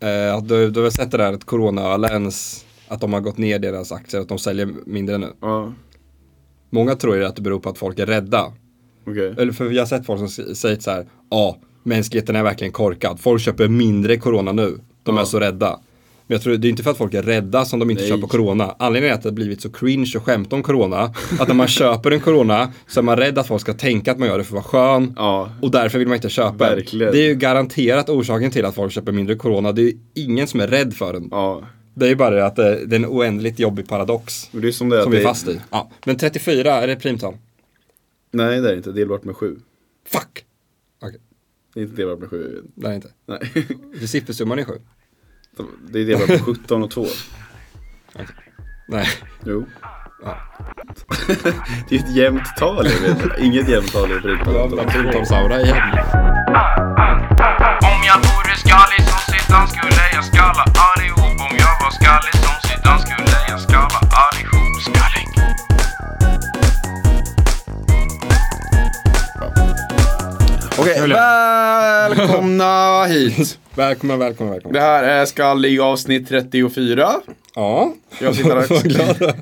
Eh, att du, du har väl sett det där att Corona Alliance, att de har gått ner deras aktier, att de säljer mindre nu. Ja, Många tror ju att det beror på att folk är rädda. okej. Eller för jag har sett folk som s- säger så här, ja, mänskligheten är verkligen korkad. Folk köper mindre Corona nu. De är Ja. så rädda. Men jag tror det är inte för att folk är rädda som de inte Nej. köper Corona. Anledningen är att det har blivit så cringe och skämt om Corona. Att när man köper en Corona så är man rädd att folk ska tänka att man gör det för att vara skön. Ja, Och därför vill man inte köpa den. Verkligen. Det är ju garanterat orsaken till att folk köper mindre corona. Det är ju ingen som är rädd för den. ja. Det är ju bara det att eh, det det är en oändligt jobbig paradox. Men det är som det är. Som att vi är det- fast i. Ja. Men 34, är det primtal? Nej, det är det inte. Delbart med sju. Fuck! Okej, Det är inte delbart med sju. det är det inte. Nej. Deciphersumman är 7. Det är delbart med 17 och 2. Nej. Jo. det är ett jämnt tal, jag vet. Inget jämnt tal är Jag har förutom primtalsaura igen. Om jag vore skallig som Zidane skulle jag skalla allihop Om jag var skallig som Zidane skulle jag skalla allihop Skallig Okej, välkomna hit. Välkommen, välkommen, välkommen. Det här är Skallig avsnitt 34. Ja. Jag sitter här. Vad glad jag är.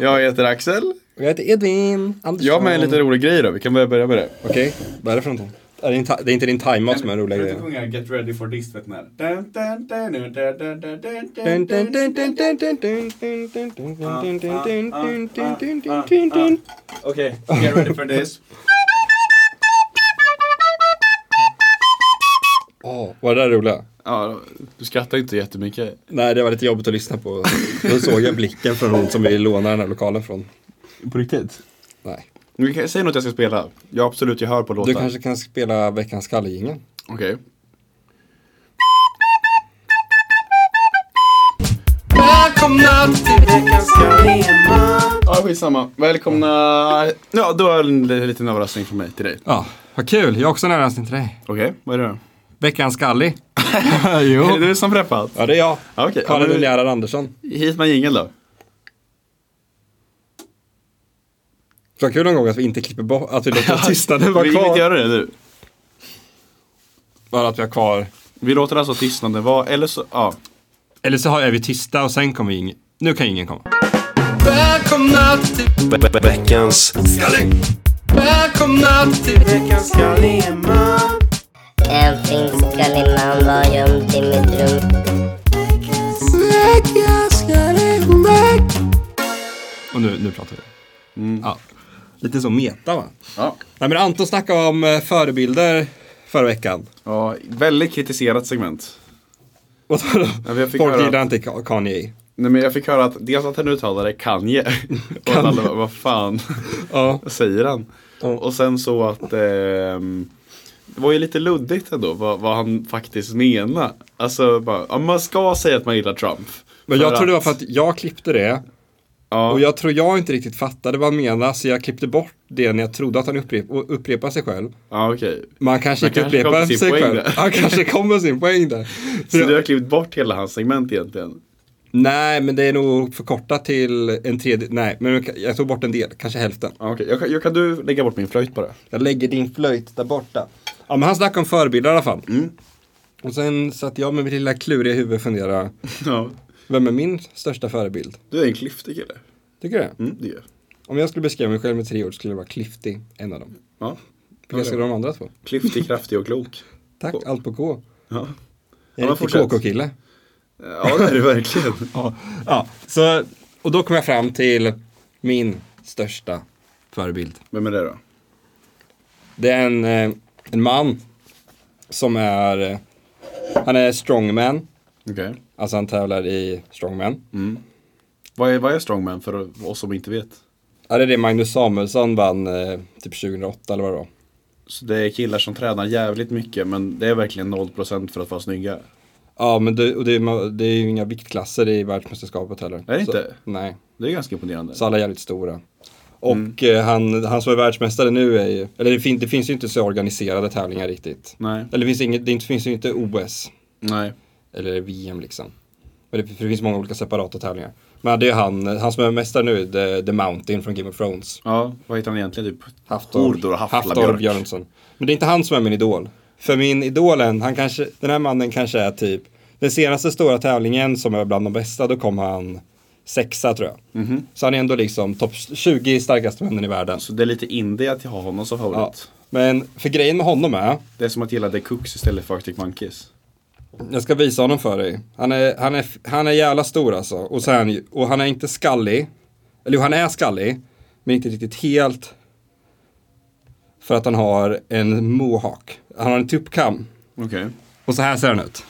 Jag heter Axel. Jag heter Edvin Andersson. Jag har med en lite rolig grej då. Vi kan börja börja med det. Okej, vad är det för någonting? Är det, en ta- det är inte din time-out som är den roliga Kan du grejen. inte sjunga Get ready for this vet ni här? Dun, dun, dun, dun, dun, dun, dun, dun, dun, Dun, dun, dun, dun, dun, dun, dun, dun, dun. dun, dun, dun, dun, dun, Ah, dun, dun, dun, dun, dun, dun, dun, dun, dun. Okej, get ready for this. Åh, Var det där roliga? Ja, du skrattar inte jättemycket. Nej, det var lite jobbigt att lyssna på. Då såg jag blicken från hon som vi lånar den här lokalen från. På riktigt? Nej. Men kan- Säg något jag ska spela. Ja, absolut, jag hör på låtar. Du kanske kan spela veckans skallejingel? Okej. Välkomna till veckans Ja, skitsamma. Välkomna. Ja, då är det en li- liten överraskning från mig till dig. Ja, vad kul. Jag är också nära till dig. Okej, vad är det då? Veckans skallig. jo. Är det du som preppat? Ja, det är jag. Ja, okej. Karin Ja, men- Ullgärdar Andersson. Hit med jingel då. Så kul någon gång att vi inte klipper bort, att vi låter tystnaden Vi vara vill inte kvar. göra det nu. Bara att vi har kvar. Vi låter alltså tystnaden vara, eller så, ja. Eller så har- är vi tysta och sen kommer ingen. Nu kan ingen komma. Veckans En finsk skallig man var gömd i mitt rum Och nu, nu pratar vi. Mm. Ja. Lite så meta va? Ja. Nej men Anton snackade om eh, förebilder förra veckan. ja väldigt kritiserat segment. Och då, Ja, vi fick folk höra- gillar inte Ka- Kanye. Nej men jag fick höra att dels att han uttalade Kanye. Och alla bara, vad fan Ja. säger han? Ja. Och sen så att ehm, det var ju lite luddigt ändå vad, vad han faktiskt menar. Alltså bara, ja, man ska säga att man gillar Trump. Men jag För tror det var för att jag klippte det ja, och jag tror jag inte riktigt fattade vad han menade så jag klippte bort det när jag trodde att han upprep och upprepade sig själv. ja okej. Man kanske Han inte kanske upprepar kom till sig sin poäng själv. där. Han kanske kommer sin poäng där. Så För jag, du har klivit bort hela hans segment egentligen? Nej, men det är nog förkortat till en tredje. Nej, men jag tog bort en del, kanske hälften. Ja, okej. Jag, kan- jag, kan du lägga bort min flöjt bara? Jag lägger din flöjt där borta. Ja, men han snackade om förebilder i alla fall. Mm. Och sen satt jag med mitt lilla kluriga huvud och funderade. Ja. Vem är min största förebild? Du är en klyftig kille. Tycker du det? Mm, det är jag. Om jag skulle beskriva mig själv med tre ord skulle det vara klyftig, en av dem. Ja. Vilka skulle de andra två? Klyftig, kraftig och klok. Tack, K. allt på K. Ja, Jag är en men riktig fortsätt. KK-kille. ja det är du verkligen. Ja, ja så, och då kom jag fram till min största förebild. Vem är det då? Det är en, eh, en man som är, eh, han är strongman, Okej. alltså han tävlar i strongman. Vad är, vad är strongman för oss som inte vet? Ja, det är det Magnus Samuelsson vann eh, typ 2008 eller vad det var. Så det är killar som tränar jävligt mycket men det är verkligen 0% för att vara snygga. Ja, men det, och det, är, ma- det är ju inga viktklasser i världsmästerskapet heller. Är det så, inte? Nej, Det är ganska imponerande. så alla är jävligt stora. Och eh, han, han som är världsmästare nu är ju, eller det, fin, det finns ju inte så organiserade tävlingar riktigt. Nej. Eller det finns, inget, det finns ju inte OS. Nej. eller VM liksom. Men det, för det finns många olika separata tävlingar. Men det är han, han som är mästare nu, The, The Mountain från Game of Thrones. Ja, vad heter han egentligen? Typ Haftor, Hordor Haftor Haflabjörk. Björnsson. Men det är inte han som är min idol. För min idol, är en- han kanske, den här mannen kanske är typ Den senaste stora tävlingen som är bland de bästa, då kom han sexa tror jag. Så han är ändå liksom topp 20 starkaste männen i världen. Så det är lite indie att jag har honom som Ja. favorit. Men för grejen med honom är, Det är som att gilla The Cooks istället för Arctic Monkeys. jag ska visa honom för dig. Han är, han är, han är jävla stor alltså. Och, sen, och han är inte skallig. Eller jo, han är skallig, men inte riktigt helt. För att han har en mohawk. Han har en tuppkam. Okej. Och så här ser han ut.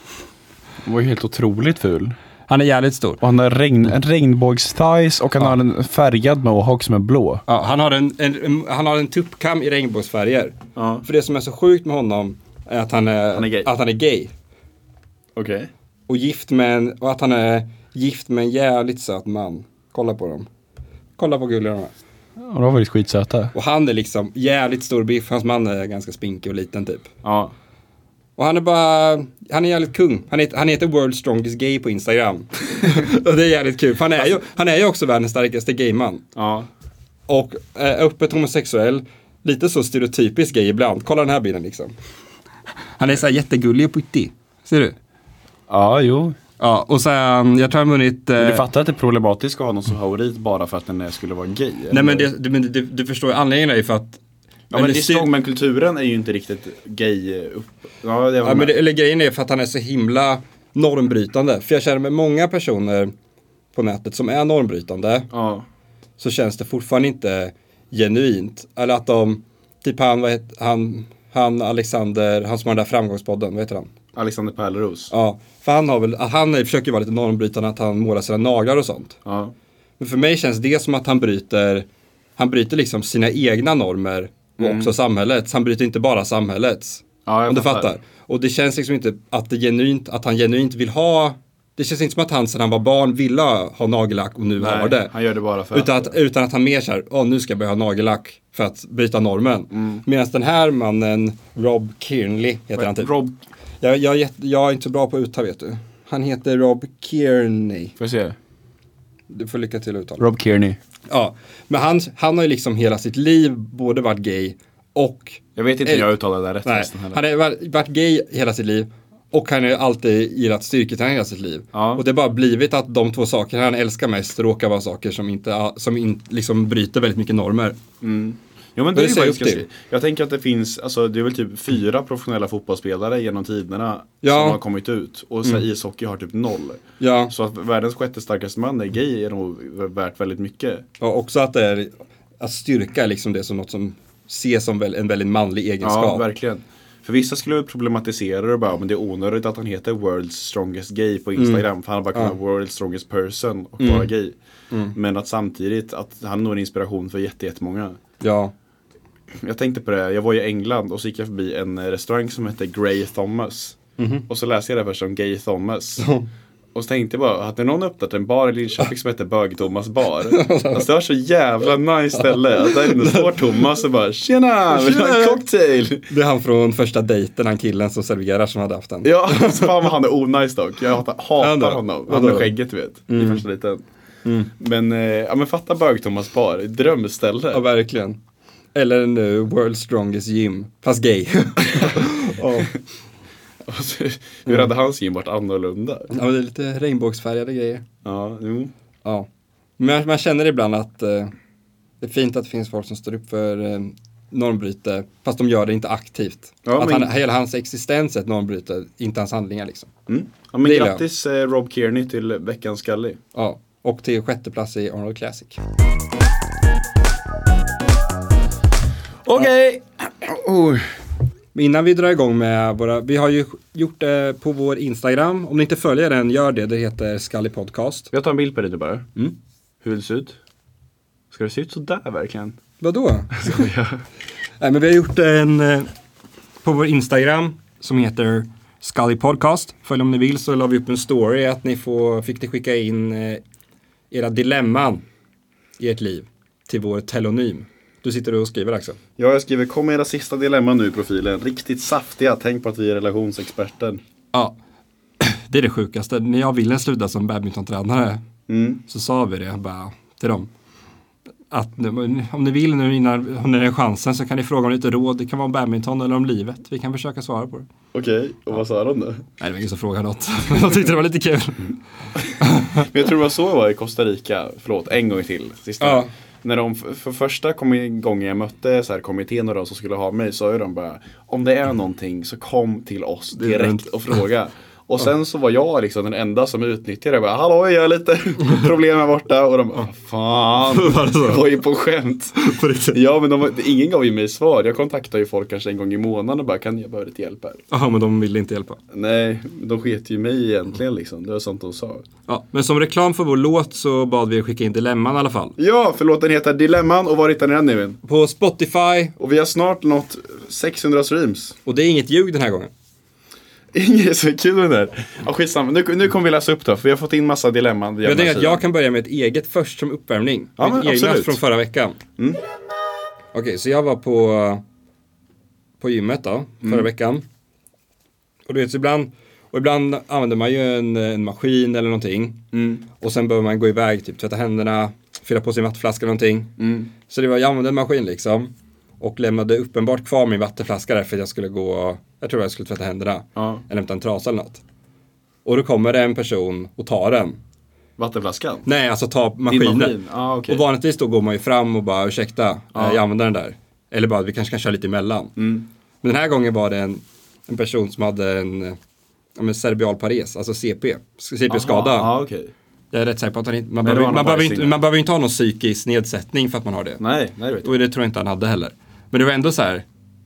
Han var ju helt otroligt ful. Han är jävligt stor. Och han har regn, Mm. en regnbågstajs och han har en färgad mohawk som är blå. Ja, han, har en, en, en, han har en tuppkam i regnbågsfärger. Ja. För det som är så sjukt med honom är att han är, Han är gay. Att han är gay. Okej. Och, gift med en, och att han är gift med en jävligt söt man. Kolla på dem. Kolla på gulliga de är. Och de har varit skitsöta. Och han är liksom jävligt stor biff. Hans man är ganska spinkig och liten typ. Ja. Och han är bara, han är jävligt kung. Han heter, han heter World's Strongest Gay på Instagram. och det är jävligt kul. För han är ju, han är ju också världens starkaste gayman. Ja. Och eh, öppet homosexuell, lite så stereotypisk gay ibland. Kolla den här bilden liksom. Han är så här jättegullig och puttig. Ser du? Ja, jo. Ja, och sen, jag tror han vunnit... eh, Men du fattar att det är problematiskt att ha någon som favorit bara för att den är- skulle vara gay? eller? nej men, det, du, men du, du förstår ju anledningen är ju för att... Ja men eller det är styr- Strongman-kulturen är ju inte riktigt gay eh, upp... Ja, det ja, var men det, det... eller grejen är för att han är så himla normbrytande. För jag känner med många personer på nätet som är normbrytande. Ja. så känns det fortfarande inte genuint. Eller att de, typ han, vad het, han, han Alexander, han som har den där framgångspodden, vad heter han? Alexander Pärleros. Ja. Ja, för han har väl, han är- försöker ju vara lite normbrytande att han målar sina naglar och sånt. ja. Men för mig känns det som att han bryter, han bryter liksom sina egna normer och också samhällets. Han bryter inte bara samhällets. Mm. Ja, jag om du fattar. fattar. Och det känns liksom inte att det genuint, att han genuint vill ha, det känns inte som att han sedan han var barn ville ha nagellack och nu Nej, har det. han gör det bara för Utan att, utan att han mer såhär, åh nu ska jag börja ha nagellack för att bryta normen. Mm. Medan den här mannen, Rob Kearnley heter han typ. Rob... Jag, jag, är jätte- jag är inte så bra på att uttala vet du. Han heter Rob Kearney. Får jag se? Du får lycka till att uttala. Rob Kearney. Ja, men han, han har ju liksom hela sitt liv både varit gay och Jag vet inte om Eh, jag uttalar det här rätt Nej, förresten heller. han har ju varit- varit gay hela sitt liv och han har ju alltid gillat styrketräning hela sitt liv. Ja. Och det har bara blivit att de två saker han älskar mest råkar vara saker som, inte, som in, liksom bryter väldigt mycket normer. Jo men Men det det är ju ser jag faktiskt upp till. ganska- Jag tänker att det finns, alltså det är väl typ fyra professionella fotbollsspelare genom tiderna Ja. Mm. som har kommit ut. Och så här, ishockey har typ noll. Ja. Så att världens sjätte starkaste man är gay är nog värt väldigt mycket. Och också att, det är, att styrka är liksom det som något som ses som väl, en väldigt manlig egenskap. Ja, verkligen. För vissa skulle ju problematisera det och bara, men det är onödigt att han heter World's Strongest Gay på Instagram. För han hade bara kunnat vara World's Strongest Person och vara gay. Men att samtidigt, att han är nog en inspiration för jätte- jättemånga. ja. Jag tänkte på det, jag var i England och så gick jag förbi en eh, restaurang som hette Grey Thomas. Och så läste jag det här först som Gay Thomas. Och så tänkte jag bara, hade någon öppnat en bar i Linköping som hette Bög Thomas bar? Alltså det var så jävla nice ställe. Att där inne står Thomas och bara, tjena, vill du ha en cocktail? Det är han från första dejten, han killen som serverar som hade haft den. Ja, alltså fan vad han är onajs dock. Jag hatar, Han då? Mm. hatar honom. Han Vadå? med skägget du vet, i första liten. Men, eh, ja, men fatta Bög-Thomas bar, drömställe. Ja, verkligen. Eller nu, World's Strongest Gym, fast gay. ja. Och så- Hur hade hans gym varit annorlunda? Ja, men det är lite regnbågsfärgade grejer. Ja, jo. Ja. Men man känner ibland att eh, det är fint att det finns folk som står upp för eh, normbryte, fast de gör det inte aktivt. Ja, att men- han, hela hans existens är ett normbryte, inte hans handlingar liksom. Mm. Ja, men Det gillar jag. grattis eh, Rob Kearney till veckans Scully. Ja. Och till sjätte plats i Arnold Classic. Okej! Men innan vi drar igång med våra, vi har ju gjort det på vår Instagram, om ni inte följer den, gör det, det heter Skalli Podcast. Jag tar en bild på dig nu bara. Mm. Hur vill det se ut? Ska det se ut sådär verkligen? Vadå? Nej, men vi har gjort en eh, på vår Instagram som heter Scully Podcast. Följ om ni vill så la vi upp en story att ni får, fick ni skicka in eh, era dilemman i ert liv till vår telonym. Du sitter och skriver Axel. Ja, jag skriver kom med era sista dilemma nu i profilen. Riktigt saftiga, tänk på att vi är relationsexperter. Ja, det är det sjukaste. När jag ville sluta som badmintontränare så sa vi det bara till dem. att nu- om ni vill nu innan om ni har chansen så kan ni fråga om lite råd. Det kan vara om badminton eller om livet. Vi kan försöka svara på det. Okej, och vad sa de då? Nej, det var ingen som frågade något. Men jag tyckte det var lite kul. Men jag tror det var så det var i Costa Rica, förlåt, en gång till. Sista. Ja. När de, f- för första kom- gången jag mötte så här, kommittén och de som skulle ha mig sa ju de bara Om det är någonting så kom till oss är direkt inte- och fråga. Och sen så var jag liksom den enda som utnyttjade det. Jag bara, Hallå jag har lite problem här borta. Och de bara, fan. Var det så? Det var ju på skämt. På riktigt. Ja men de, ingen gav ju mig svar. Jag kontaktade ju folk kanske en gång i månaden och bara, kan jag behöva lite hjälp här? Jaha, men de ville inte hjälpa. Nej, de sket ju i mig egentligen liksom. Det var sånt de sa. Ja, men som reklam för vår låt så bad vi er skicka in dilemman i alla fall. Ja, förlåt den heter Dilemman och var hittar ni den Evin? På Spotify, Och vi har snart nått 600 streams. och det är inget ljug den här gången. Inget är så kul med det där. Ja, skitsamma, nu, nu kommer vi läsa upp då för vi har fått in massa dilemman. via Jag tänker att den här jag kan börja med ett eget först som uppvärmning. Ja, Mitt men egna absolut. Mm. från förra veckan. Okej, så jag var på, på gymmet då, förra Mm. veckan. Och du vet, så ibland, och ibland använder man ju en, en maskin eller någonting. Mm. Och sen behöver man gå iväg, typ tvätta händerna, fylla på sin vattenflaska eller någonting. Mm. Så det var, jag använde en maskin liksom. Och lämnade uppenbart kvar min vattenflaska där för att jag skulle gå, jag tror jag skulle tvätta händerna. Ja. Eller hämta en trasa eller något. Och då kommer det en person och tar den. Vattenflaskan? Nej, alltså ta Din maskinen. maskin? Ah, okej. Och vanligtvis då går man ju fram och bara ursäkta, eh, Ja. Mm. jag använder den där. Eller bara vi kanske kan köra lite emellan. Men den här gången var det en, en person som hade en eh, ja, men cerebral pares, alltså CP, CP-skada. Ja, ah, okej. Jag är rätt säker på att han inte, man, det behöver, var någon man, behöver bajsing inte, där. man behöver inte ha någon psykisk nedsättning för att man har det. Nej, nej det vet jag. Och det tror jag inte han hade heller. Men det var ändå så här,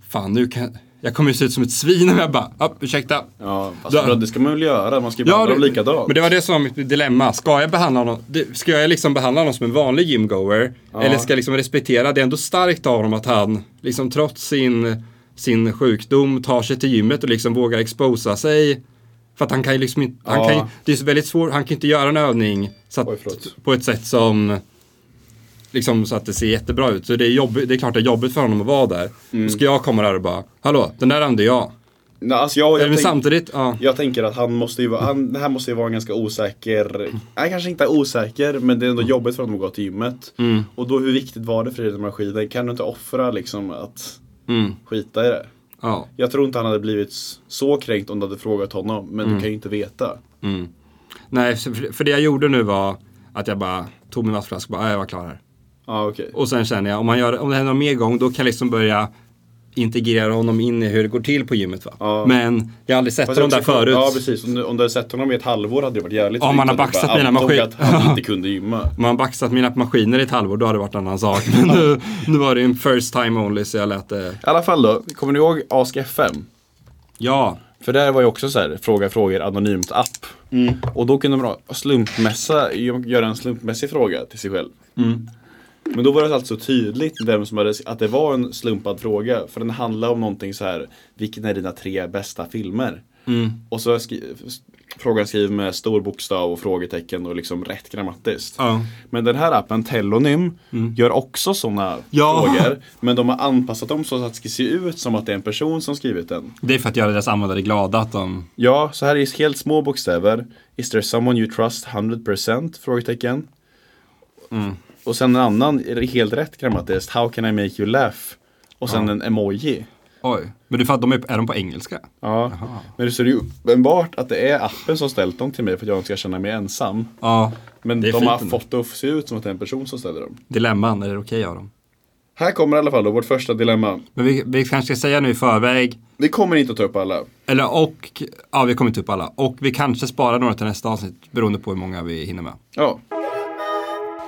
fan nu kan, jag kommer ju se ut som ett svin om jag bara, ah, ursäkta. Ja, fast Då- bro, det ska man väl göra, man ska ju behandla dem likadant. men det var det som var mitt dilemma. Ska jag behandla honom, det- ska jag liksom behandla honom som en vanlig gymgoer? Eller ska jag liksom respektera, det är ändå starkt av honom att han, liksom trots sin, sin sjukdom, tar sig till gymmet och liksom vågar exposa sig. För att han kan ju liksom inte, han Ja. kan ju, det är så väldigt svårt, han kan inte göra en övning så att, Oj, förlåt. på ett sätt som, liksom så att det ser jättebra ut. Så det är, jobbigt, det är klart det är jobbigt för honom att vara där. Mm. Då ska jag komma där och bara, hallå, den där använde jag. Nej, alltså jag, jag, Men tänk, samtidigt, ja. jag tänker att han måste ju vara, han, det här måste ju vara en ganska osäker, nej kanske inte osäker, men det är ändå jobbigt för honom att gå till gymmet. Mm. Och då hur viktigt var det för dig med maskinen? Kan du inte offra liksom att Mm, skita i det? ja. Jag tror inte han hade blivit s- så kränkt om du hade frågat honom, men Mm. du kan ju inte veta. Nej, för för det jag gjorde nu var att jag bara tog min vattenflaska och bara, "Ah, jag var klar här. Ja okej. Och sen känner jag, om, man gör, om det händer någon mer gång, då kan jag liksom börja integrera honom in i hur det går till på gymmet va. Ja. Men jag har aldrig sett Fast jag honom där också- förut. Ja precis, om du, om du hade sett honom i ett halvår hade det varit jävligt Om tryggt han har att du bara baxat mina antog maskin- att han inte kunde gymma. Om man baxat mina maskiner i ett halvår, då hade det varit en annan sak. Men nu, nu var det en first time only, så jag lät eh, det. I alla fall då, kommer ni ihåg Ask FM? Ja, För där var ju också så här, fråga frågor anonymt app. Mm. Och då kunde man ha slumpmässa, göra en slumpmässig fråga till sig själv. Mm. Men då var det alltså tydligt vem som hade, att det var en slumpad fråga. För den handlade om någonting så här, vilken är dina tre bästa filmer? Mm. Och så skri, frågan skriven med stor bokstav och frågetecken och liksom rätt grammatiskt. Ja. Mm. Men den här appen Telonym gör också sådana Ja. frågor. Men de har anpassat dem så att det ska se ut som att det är en person som skrivit den. det är för att göra deras användare glada att de... Ja, så här är helt små bokstäver. Is there someone you trust 100%? Frågetecken. Mm. Och sen en annan, är det helt rätt grammatiskt. How can I make you laugh? Och sen en emoji. Oj. Men du fattar, de är, är de på engelska? Ja, men det ser ju uppenbart att det är appen som ställt dem till mig för att jag inte ska känna mig ensam. Ja. Men Det är de fint har ändå. fått det att se ut som att det är en person som ställer dem. Dilemman, är det okej av dem? Här kommer i alla fall då vårt första dilemma. Men vi, vi kanske ska säga nu i förväg, Vi kommer inte att ta upp alla. Eller och, ja vi kommer inte upp alla. Och vi kanske sparar några till nästa avsnitt beroende på hur många vi hinner med. Ja.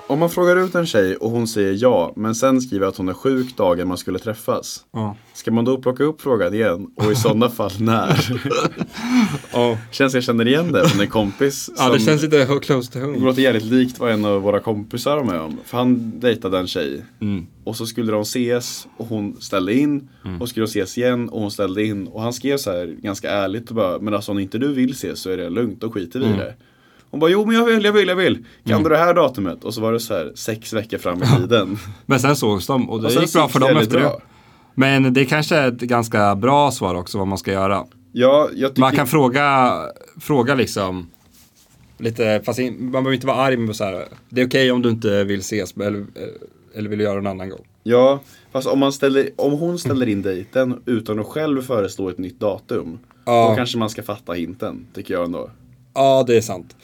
Om man frågar ut en tjej och hon säger ja, men sen skriver att hon är sjuk dagen man skulle träffas. Ja. Ska man då plocka upp frågan igen? Och i sådana fall när? Känns jag känner igen det från en kompis som Ja det känns lite close to det home. låter jävligt likt vad en av våra kompisar var med om. För han dejtade en tjej. Mm. Och så skulle de ses och hon ställde in. Och skulle de ses igen och hon ställde in. Och han skrev så här ganska ärligt och bara, men alltså om inte du vill ses så är det lugnt, då skiter vi Mm. i det. Hon bara, jo men jag vill, jag vill, jag vill. Kan du det här datumet? Och så var det så här sex veckor fram i tiden. Men sen sågs de och det Och sen gick bra gick för det dem jävligt efter det. bra. Men det kanske är ett ganska bra svar också vad man ska göra. Ja, jag tycker... Man kan fråga, fråga liksom. Lite, fast in, man behöver inte vara arg men så här. Det är okej om du inte vill ses. Eller, eh, Eller vill du göra en annan gång? Ja, fast om, man ställer, om hon ställer in dejten utan att själv föreslå ett nytt datum. Ja. Då kanske man ska fatta hinten, tycker jag ändå. Ja, det är sant.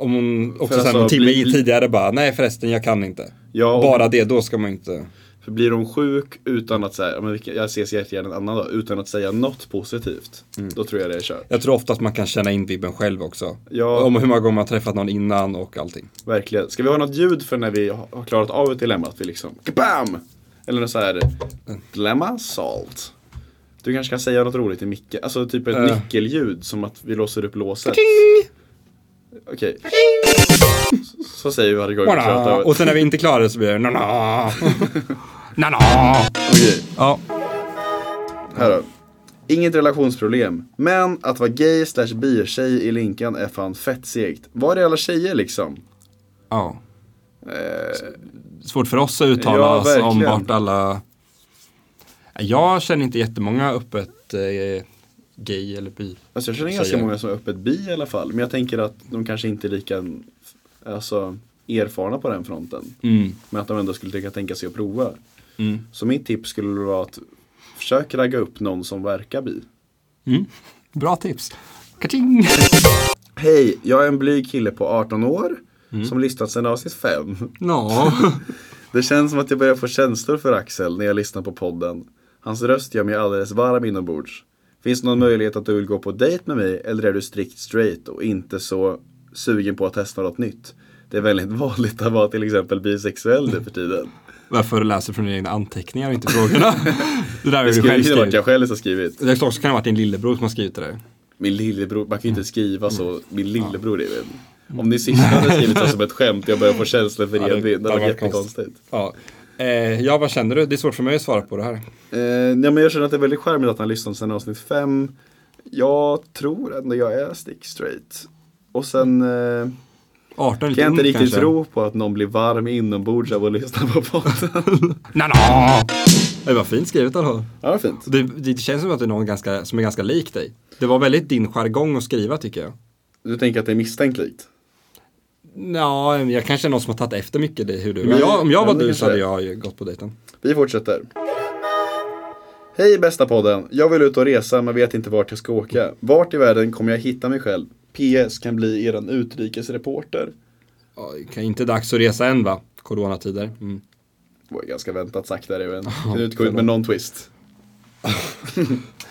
Om hon också För sen alltså, en timme bli- bli- tidigare bara, nej förresten jag kan inte. Ja, och- Bara det, då ska man inte. För blir hon sjuk utan att säga, "Ja, men vi kan- jag ses jättegärna en annan dag, utan att säga något positivt. Mm. Då tror jag det är kört. Jag tror ofta att man kan känna in vibben själv också. Ja. Om hur många gånger man träffat någon innan och allting. Verkligen. Ska vi ha något ljud för när vi har klarat av ett dilemma? Att vi liksom, kabam! Eller något så här, dilemma salt. Du kanske kan säga något roligt i micken, alltså typ ett Äh. nyckelljud som att vi låser upp låset. Okej. Så- Så säger vi varje gång vi klarat av ett. Och sen när vi inte klarar det så blir det nana. nana. Okej. Ja. Här då. Inget relationsproblem, men att vara gay slash bi-tjej i Linkan är fan fett segt. Var är alla tjejer liksom? ja. S- Svårt för oss att uttala Eh. Ja, oss om verkligen. vart alla... Jag känner inte jättemånga öppet eh, gay eller bi. Alltså jag känner ganska Tjejer. många som är öppet bi i alla fall, men jag tänker att de kanske inte är lika alltså, erfarna på den fronten. Mm. Men att de ändå skulle tänka, tänka sig att prova. Så mitt tips skulle vara att försök ragga upp någon som verkar bi. Bra tips. Kaching! Hej, jag är en blyg kille på 18 år som lyssnat sedan avsnitt 5. Ja. Det känns som att jag börjar få känslor för Axel när jag lyssnar på podden. Hans röst gör mig alldeles varm inombords. Finns det någon möjlighet att du vill gå på dejt med mig eller är du strikt straight och inte så sugen på att testa något nytt? Det är väldigt vanligt att vara till exempel bisexuell nu för tiden. Varför du läser från dina egna anteckningar och inte frågorna? Det där är Det du själv skulle ju kunna varit skrivit. jag själv som skrivit. Det är klart så kan det ha varit din lillebror som har skrivit det där. Min lillebror, man kan ju inte skriva Mm. så. Min lillebror Edvin. Om ni sista hade skrivit så som ett skämt, jag börjar få känslor för det- Edvin. det Det hade var varit jättekonstigt. Ja. Eh, ja, vad känner du? Det är svårt för mig att svara på det här. Eh, nej, men jag känner att det är väldigt charmigt att han lyssnat sedan avsnitt 5. Jag tror ändå jag är stick straight. Och sen eh, 18 är kan lite jag ungt inte riktigt kanske. tro på att någon blir varm inombords av att lyssna på podden. Nana! Det var fint skrivet ändå. ja, vad fint. Det, det känns som att det är någon ganska, som är ganska lik dig. Det var väldigt din jargong att skriva tycker jag. Du tänker att det är misstänkt likt? Ja, jag kanske är någon som har tagit efter mycket dig hur du... Men- Om jag, om jag men var det du kanske så hade är. jag ju gått på dejten. Vi fortsätter. Hej bästa podden! Jag vill ut och resa men vet inte vart jag ska åka. Vart i världen kommer jag hitta mig själv? PS kan bli eran utrikesreporter. Ja, kan- inte dags att resa än va? Coronatider. Mm. Det var ganska väntat sagt där Edvin. Kunde utgå ut med någon twist.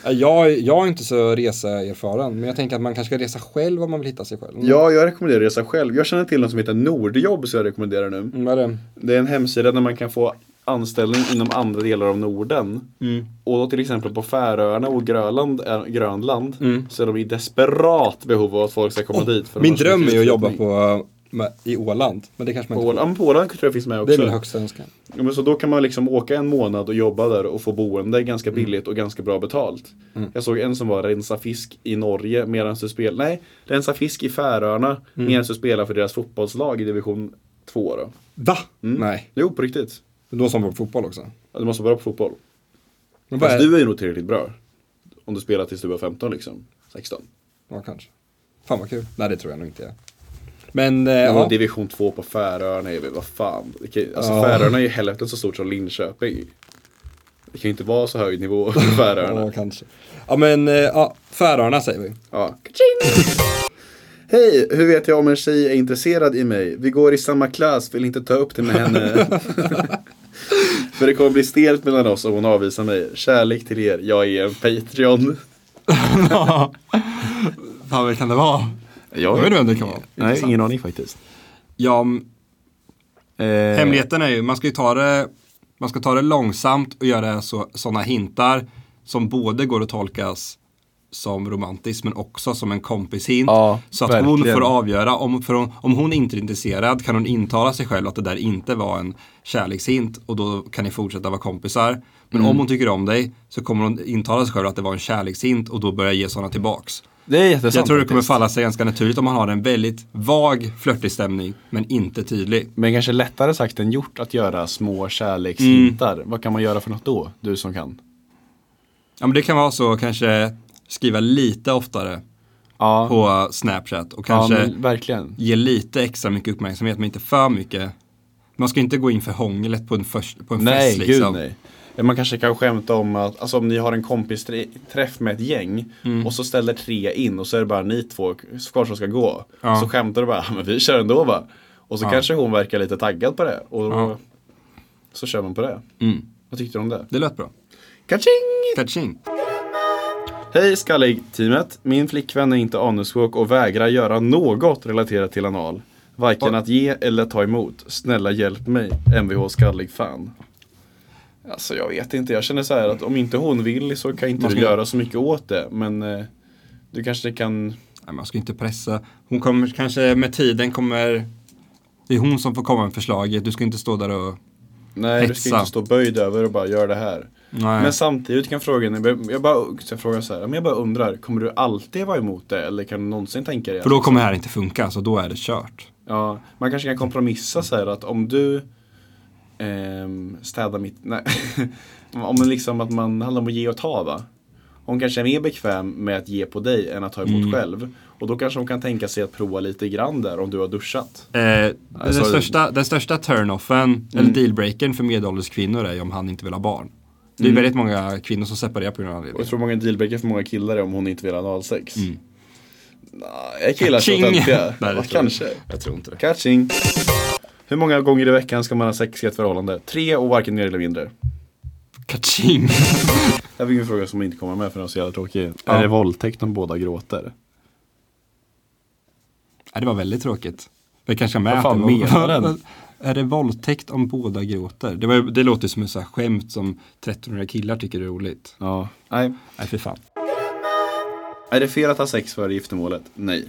Ja, Jag, jag är inte så reseerfaren, men jag tänker att man kanske ska resa själv om man vill hitta sig själv. Ja, jag rekommenderar att resa själv. Jag känner till någon som heter Nordjobb så jag rekommenderar nu. Mm, Vad är det? Det är en hemsida där man kan få anställning inom andra delar av Norden. Mm. Och då till exempel på Färöarna och Grönland, är- Grönland så är de i desperat behov av att folk ska komma dit. För Mm. Min annars dröm finns är det att jobba flyttning. på, eh, med, i Åland, men det kanske man På inte Åland. Ja, men på Åland tror jag finns med får. Det också. är min högsta önskan. Ja, men så då kan man liksom åka en månad och jobba där och få boende ganska Mm. billigt och ganska bra betalt. Jag såg en som var rensa fisk i Norge medan du spelar, nej, rensa fisk i Färöarna Mm. medan du spelar för deras fotbollslag i division 2 då. Va? Nej. Jo, på riktigt. Då som på fotboll också. Ja, Du måste vara bra på fotboll. Men vad Fast är du... du är ju nog tillräckligt bra. Om du spelar tills du var 15 liksom. 16. Ja, kanske. Fan vad kul. Nej, det tror jag nog inte jag. Men, eh, Ja. ja. division 2 på Färöarna är väl, vad fan. Det kan, ju- alltså Ja. Färöarna är ju hälften så stort som Linköping. Det kan ju inte vara så hög nivå på Färöarna. ja, kanske. Ja, men, eh, ja, Färöarna säger vi. Ja. Hej, hur vet jag om en tjej är intresserad i mig? Vi går i samma klass, vill inte ta upp det med henne. För det kommer bli stelt mellan oss om hon avvisar mig. Kärlek till er, jag är en Patreon. Fan, vad kan det vara? Jag vet inte vem det kan vara. Nej, ingen aning faktiskt. Ja, m- Eh, hemligheten är ju, man ska ju ta det, man ska ta det långsamt och göra sådana hintar som både går att tolkas som romantisk men också som en kompishint. Ja, så att hon verkligen. får avgöra, om, för hon, om hon inte är intresserad kan hon intala sig själv att det där inte var en kärlekshint och då kan ni fortsätta vara kompisar. Men Mm. om hon tycker om dig så kommer hon intala sig själv att det var en kärlekshint och då börjar ge sådana tillbaks. Det är jättesant Jag tror det kommer faktiskt. falla sig ganska naturligt om man har en väldigt vag flörtig stämning, men inte tydlig. Men kanske lättare sagt än gjort att göra små kärlekshintar. Vad kan man göra för något då? Du som kan. Ja, men det kan vara så kanske skriva lite oftare Ja, på Snapchat och ja kanske men verkligen. ge lite extra mycket uppmärksamhet, men inte för mycket. Man ska inte gå in för hånglet på en, först, på en Nej, fest. gud Liksom. nej. Ja, Man kanske kan skämta om att alltså, om ni har en kompisträff med ett gäng Mm. och så ställer tre in och så är det bara ni två kvar som ska gå. Ja. Så skämtar du bara, "Ja, men vi kör ändå va? Och så kanske hon verkar lite taggad på det och då, Ja. så kör man på det. Mm. Vad tyckte du om det? Det lät bra. Kaching! Catching. Hej skallig-teamet! Min flickvän är inte anussjuk och vägrar göra något relaterat till anal. Varken att ge eller ta emot. Snälla hjälp mig, mvh skallig fan. Alltså jag vet inte, jag känner så här att om inte hon vill så kan inte Man du ska- göra så mycket åt det. Men eh, du kanske kan... Nej, man ska inte pressa. Hon kommer kanske med tiden kommer... Det är hon som får komma med förslaget. Du ska inte stå där och... Nej, du ska Hetsa. inte stå böjd över och bara göra det här. Nej. Men samtidigt kan frågan, jag bara, jag frågar så här, men jag bara undrar, kommer du alltid vara emot det eller kan du någonsin tänka dig För då kommer det här inte funka, så då är det kört. Ja, man kanske kan kompromissa så här att om du ehm, städar mitt... Nej. om man liksom att man handlar om att ge och ta va? Hon kanske är mer bekväm med att ge på dig än att ta emot själv. Och då kanske hon kan tänka sig att prova lite grann där om du har duschat. Eh, den, sorry. största, den största turn-offen, Mm. eller dealbreakern för medelålders kvinnor är ju om han inte vill ha barn. Det är väldigt många kvinnor som separerar på grund av Och det. Mm. jag tror många dealbreaker för många killar är om hon inte vill ha analsex. Mm. Nej, killar så Ka-ching! töntiga. Nej, det tror Ja, jag Kanske. Jag tror inte det. Catching. Hur många gånger i veckan ska man ha sex i ett förhållande? Tre och varken mer eller mindre. Kaching! Det här fick vi en fråga som inte kommer med för den var så jävla tråkig. Ja. Är det våldtäkt om båda gråter? Ja, det var väldigt tråkigt. Det kanske är med. Vad fan att det var- menar den? Är det våldtäkt om båda gråter? Det, var, ju- det låter ju som ett så här skämt som 1300 killar tycker är roligt. Ja. Nej. Nej, fy fan. Är det fel att ha sex före giftermålet? Nej.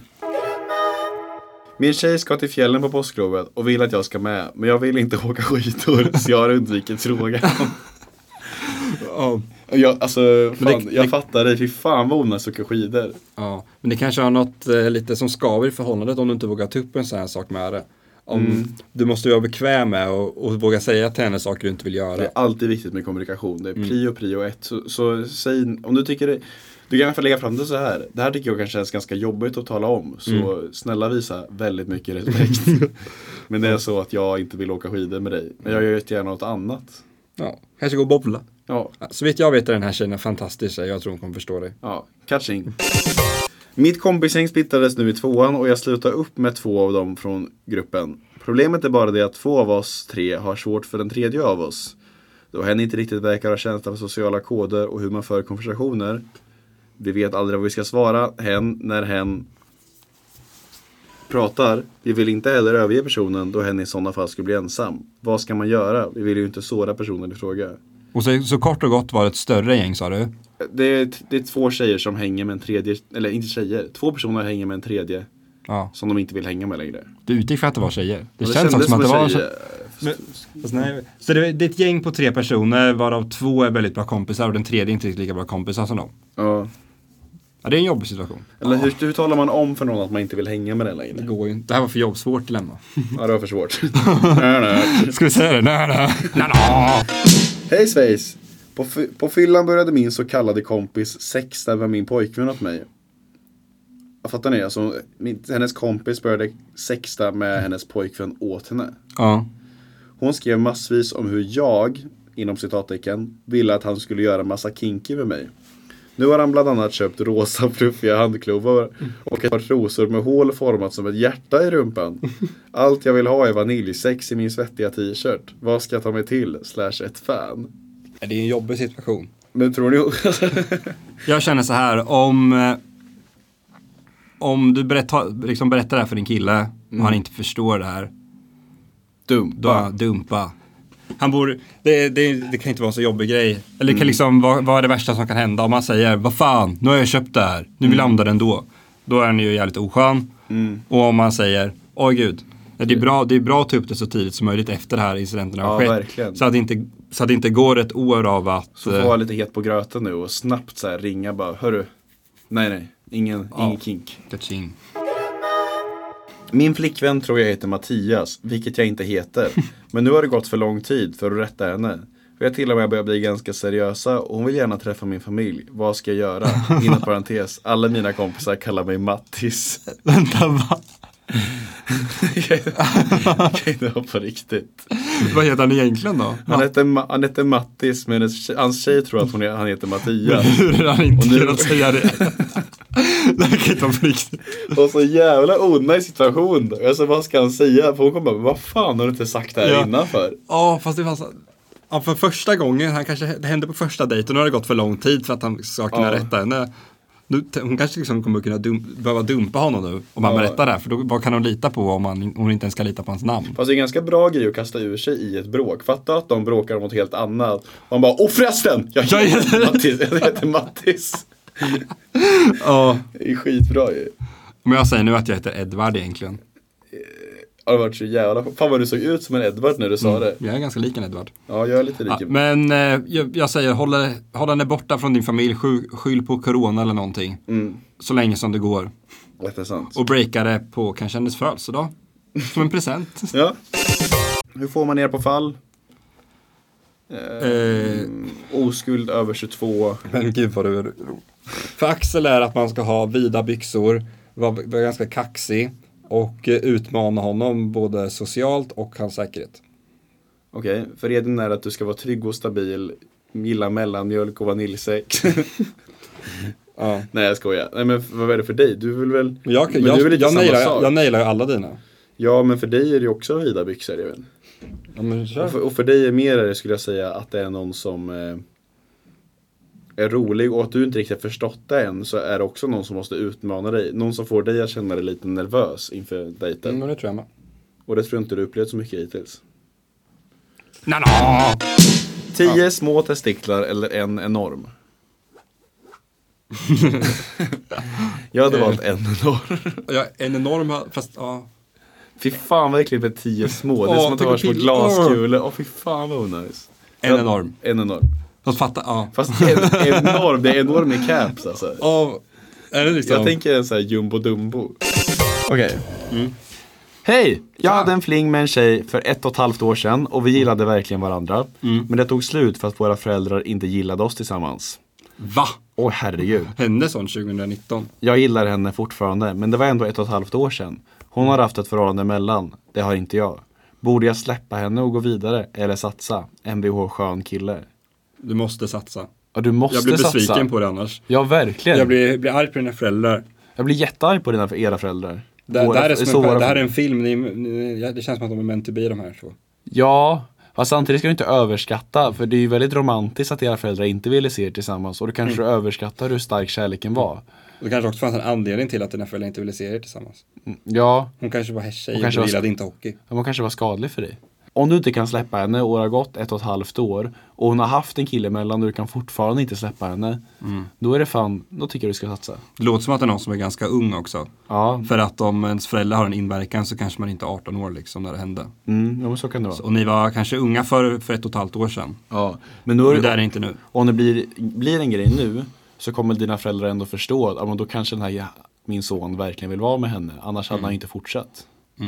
Min tjej ska till fjällen på påsklovet och vill att jag ska med, men jag vill inte åka skidor så jag har undvikit frågan. Ja. Jag, alltså, Men det- fan, jag det- fattar dig, fy fan vad onödigt att åka skidor. Ja, men det kanske har något eh, lite som skaver i förhållandet om du inte vågar ta upp en sån här sak med det. Om Du måste ju vara bekväm med och, och våga säga till henne saker du inte vill Det göra. är alltid viktigt med kommunikation, det är prio, prio ett. Så, så säg, om du tycker det, du kan i alla fall lägga fram det så här. Det här tycker jag kanske känns ganska jobbigt att tala om, så snälla visa väldigt mycket respekt. men det är så att jag inte vill åka skidor med dig, men jag gör jättegärna något annat. Ja, kanske gå och bobla. Ja, Ja, Så vitt jag vet är den här tjejen en fantastisk tjej, jag tror hon kommer förstå dig. Ja, catching. Mitt kompisgäng splittrades nu i tvåan och jag slutade upp med två av dem från gruppen. Problemet är bara det att två av oss tre har svårt för den tredje av oss. Då hen inte riktigt verkar ha känsla för sociala koder och hur man för konversationer. Vi vet aldrig vad vi ska svara hen när hen pratar. Vi vill inte heller överge personen då hen i sådana fall skulle bli ensam. Vad ska man göra? Vi vill ju inte såra personen i fråga. Och så, så kort och gott var det ett större gäng sa du? Det är, det är två tjejer som hänger med en tredje, eller inte tjejer, två personer hänger med en tredje Ja. som de inte vill hänga med längre. Du utgick för att det var tjejer? Det, Och känns som, att det var tjej, eh, tjejer. Fast nej. Så det, det är ett gäng på tre personer varav två är väldigt bra kompisar och den tredje är inte riktigt lika bra kompisar som dem. Ja. Ja, det är en jobbig situation. Eller hur, hur talar man om för någon att man inte vill hänga med den längre? går ju inte. Det här var för jobbsvårt dilemma. Ja, det var för svårt. Nej, nej. Ska vi säga det? Nej, nej. nej, nej. Hej Svejs! På, fy- på fyllan började min så kallade kompis sexta med min pojkvän åt mig. Ja, Fattar ni? Alltså, min, hennes kompis började sexta med hennes pojkvän åt henne. Ja. Hon skrev massvis om hur jag, inom citattecken, ville att han skulle göra massa kinky med mig. Nu har han bland annat köpt rosa fluffiga handklovar och ett par trosor med hål format som ett hjärta i rumpan. Allt jag vill ha är vaniljsex i min svettiga t-shirt. Vad ska jag ta mig till? Slash ett fan. Det är en jobbig situation. Men tror ni... Jag känner så här, om, eh, om du berätta, liksom berättar det här för din kille och han inte förstår det här, Dumt. då Mm. dumpa. Han borde, det, det, det kan inte vara en så jobbig grej. Eller det kan liksom, vad, vad är det värsta som kan hända om han säger, vad fan, nu har jag köpt det här, nu vill jag använda det ändå. Då är han ju jävligt oskön. Och om han säger, åh gud, ja, det är, bra, det är bra att ta upp det så tidigt som möjligt efter det här incidenten har Ja, skett. verkligen. Så, att det inte, så att det inte går ett år av att... Så får eh, vara lite het på gröten nu och snabbt så här ringa bara, hörru. Nej, nej. Ingen, Ja. ingen kink. Kaching. Min flickvän tror jag heter Mattias, vilket jag inte heter. Men nu har det gått för lång tid för att rätta henne. Vi har till och med börjat bli ganska seriösa och hon vill gärna träffa min familj. Vad ska jag göra? Inom parentes, alla mina kompisar kallar mig Mattis. Vänta, va? Jag kan inte vara på riktigt. Vad heter han egentligen då? Han hette, Ma- han hette Mattis men hennes tje- hans tjej tror att hon, he- han heter Mattias. Hur har han inte Och nu- kunnat säga det? det här kan inte vara på riktigt. Och så jävla onödig situation. då. Alltså vad ska han säga? För hon kommer bara, vad fan har du inte sagt det här Ja. innan för? Ja, fast det fanns... Ja, för första gången, han kanske, det hände på första dejten, nu har det gått för lång tid för att han ska kunna Ja. rätta henne. Nu, t- hon kanske liksom kommer kunna dum, behöva dumpa honom nu om han Ja. berättar det här, för då, vad kan hon lita på om, han, om hon inte ens ska lita på hans namn? Fast det är en ganska bra grej att kasta ur sig i ett bråk. Fatta att de bråkar om något helt annat. Man bara, åh förresten! Jag Jag heter heter- Mattis. Jag heter Mattis. Ja, Det är skitbra ju. men jag säger nu att jag heter Edvard egentligen. Ja, Det har varit så jävla... Fan vad du såg ut som en Edward när du sa det. Jag är ganska lik en Edvard. Ja, jag är lite lik. Mm. Ja, men eh, jag, jag säger, håll, håll henne borta från din familj, sky- skyll på corona eller någonting. Så länge som det går. Det är sant. Och breakade på kanske hennes födelsedag. Som en present. Ja. Hur får man ner på fall? eh, Oskuld över 22. men gud vad du är För Axel är att man ska ha vida byxor, vara vara ganska kaxig och eh, utmana honom både socialt och hans säkerhet. Okej, för Edvin är att du ska vara trygg och stabil, gilla mellanmjölk och vaniljsex. Ja. Nej jag skojar. Nej men vad är det för dig? Du vill väl? Men jag, men jag, du är lite jag, samma nailar, sak. jag nailar ju alla dina. Ja men för dig är det ju också vida byxor Edvin. Ja, men, Och för, och för dig är mer det skulle jag säga att det är någon som eh, är rolig och att du inte riktigt har förstått det än så är det också någon som måste utmana dig. Någon som får dig att känna dig lite nervös inför dejten. men det tror jag med. Och det tror jag inte du upplevt så mycket hittills. Nej, nej. Tio små testiklar eller en enorm? jag hade valt en enorm. Ja, en enorm, fast ja. Fy fan vad äckligt med tio små. Det är Åh, som att det tänk var på små pill- glaskulor. Åh fy fan vad onajs. En enorm. En enorm. Fast fatta, ja. Fast en, enorm, det är enorm i caps alltså. Av, är det liksom? Jag tänker en sån här Mm. jumbo dumbo. Okej. Hej! Jag hade en fling med en tjej för ett och ett halvt år sedan och vi gillade verkligen varandra. Mm. Men det tog slut för att våra föräldrar inte gillade oss tillsammans. Va? Åh herregud. Hände sånt 2019? Jag gillar henne fortfarande, men det var ändå ett och ett halvt år sedan. Hon har haft ett förhållande mellan, det har inte jag. Borde jag släppa henne och gå vidare eller satsa? Mvh skön kille. Du måste satsa. Ja, du måste Jag blir besviken satsa. på det annars. Ja, verkligen. Jag blir, blir arg på dina föräldrar. jag blir jättearg på dina, era föräldrar. Det, Våra- det, här är så som en, våra- det här är en film, ni, ni, ja, det känns som att de är meant to be de här två. Ja, fast samtidigt ska du inte överskatta. För det är ju väldigt romantiskt att era föräldrar inte ville se er tillsammans. Och då kanske Mm. du överskattar hur stark kärleken var. Det kanske också fanns en anledning till att dina föräldrar inte ville se er tillsammans. Ja, Hon kanske var tjej Hon och kanske var- gillade inte hockey. hon kanske var skadlig för dig. Om du inte kan släppa henne och det har gått ett och ett halvt år och hon har haft en kille mellan och du kan fortfarande inte släppa henne. Mm. Då är det fan, då tycker jag du ska satsa. Det låter som att det är någon som är ganska ung också. Ja, För att om ens föräldrar har en inverkan så kanske man inte är 18 år liksom när det hände. mm, ja men så kan det vara. Och ni var kanske unga för, för ett och ett halvt år sedan. Ja. Men då är Det det, där är inte nu. om det blir, blir en grej nu så kommer dina föräldrar ändå förstå att ja, men då kanske den här ja, min son verkligen vill vara med henne. Annars hade han inte fortsatt.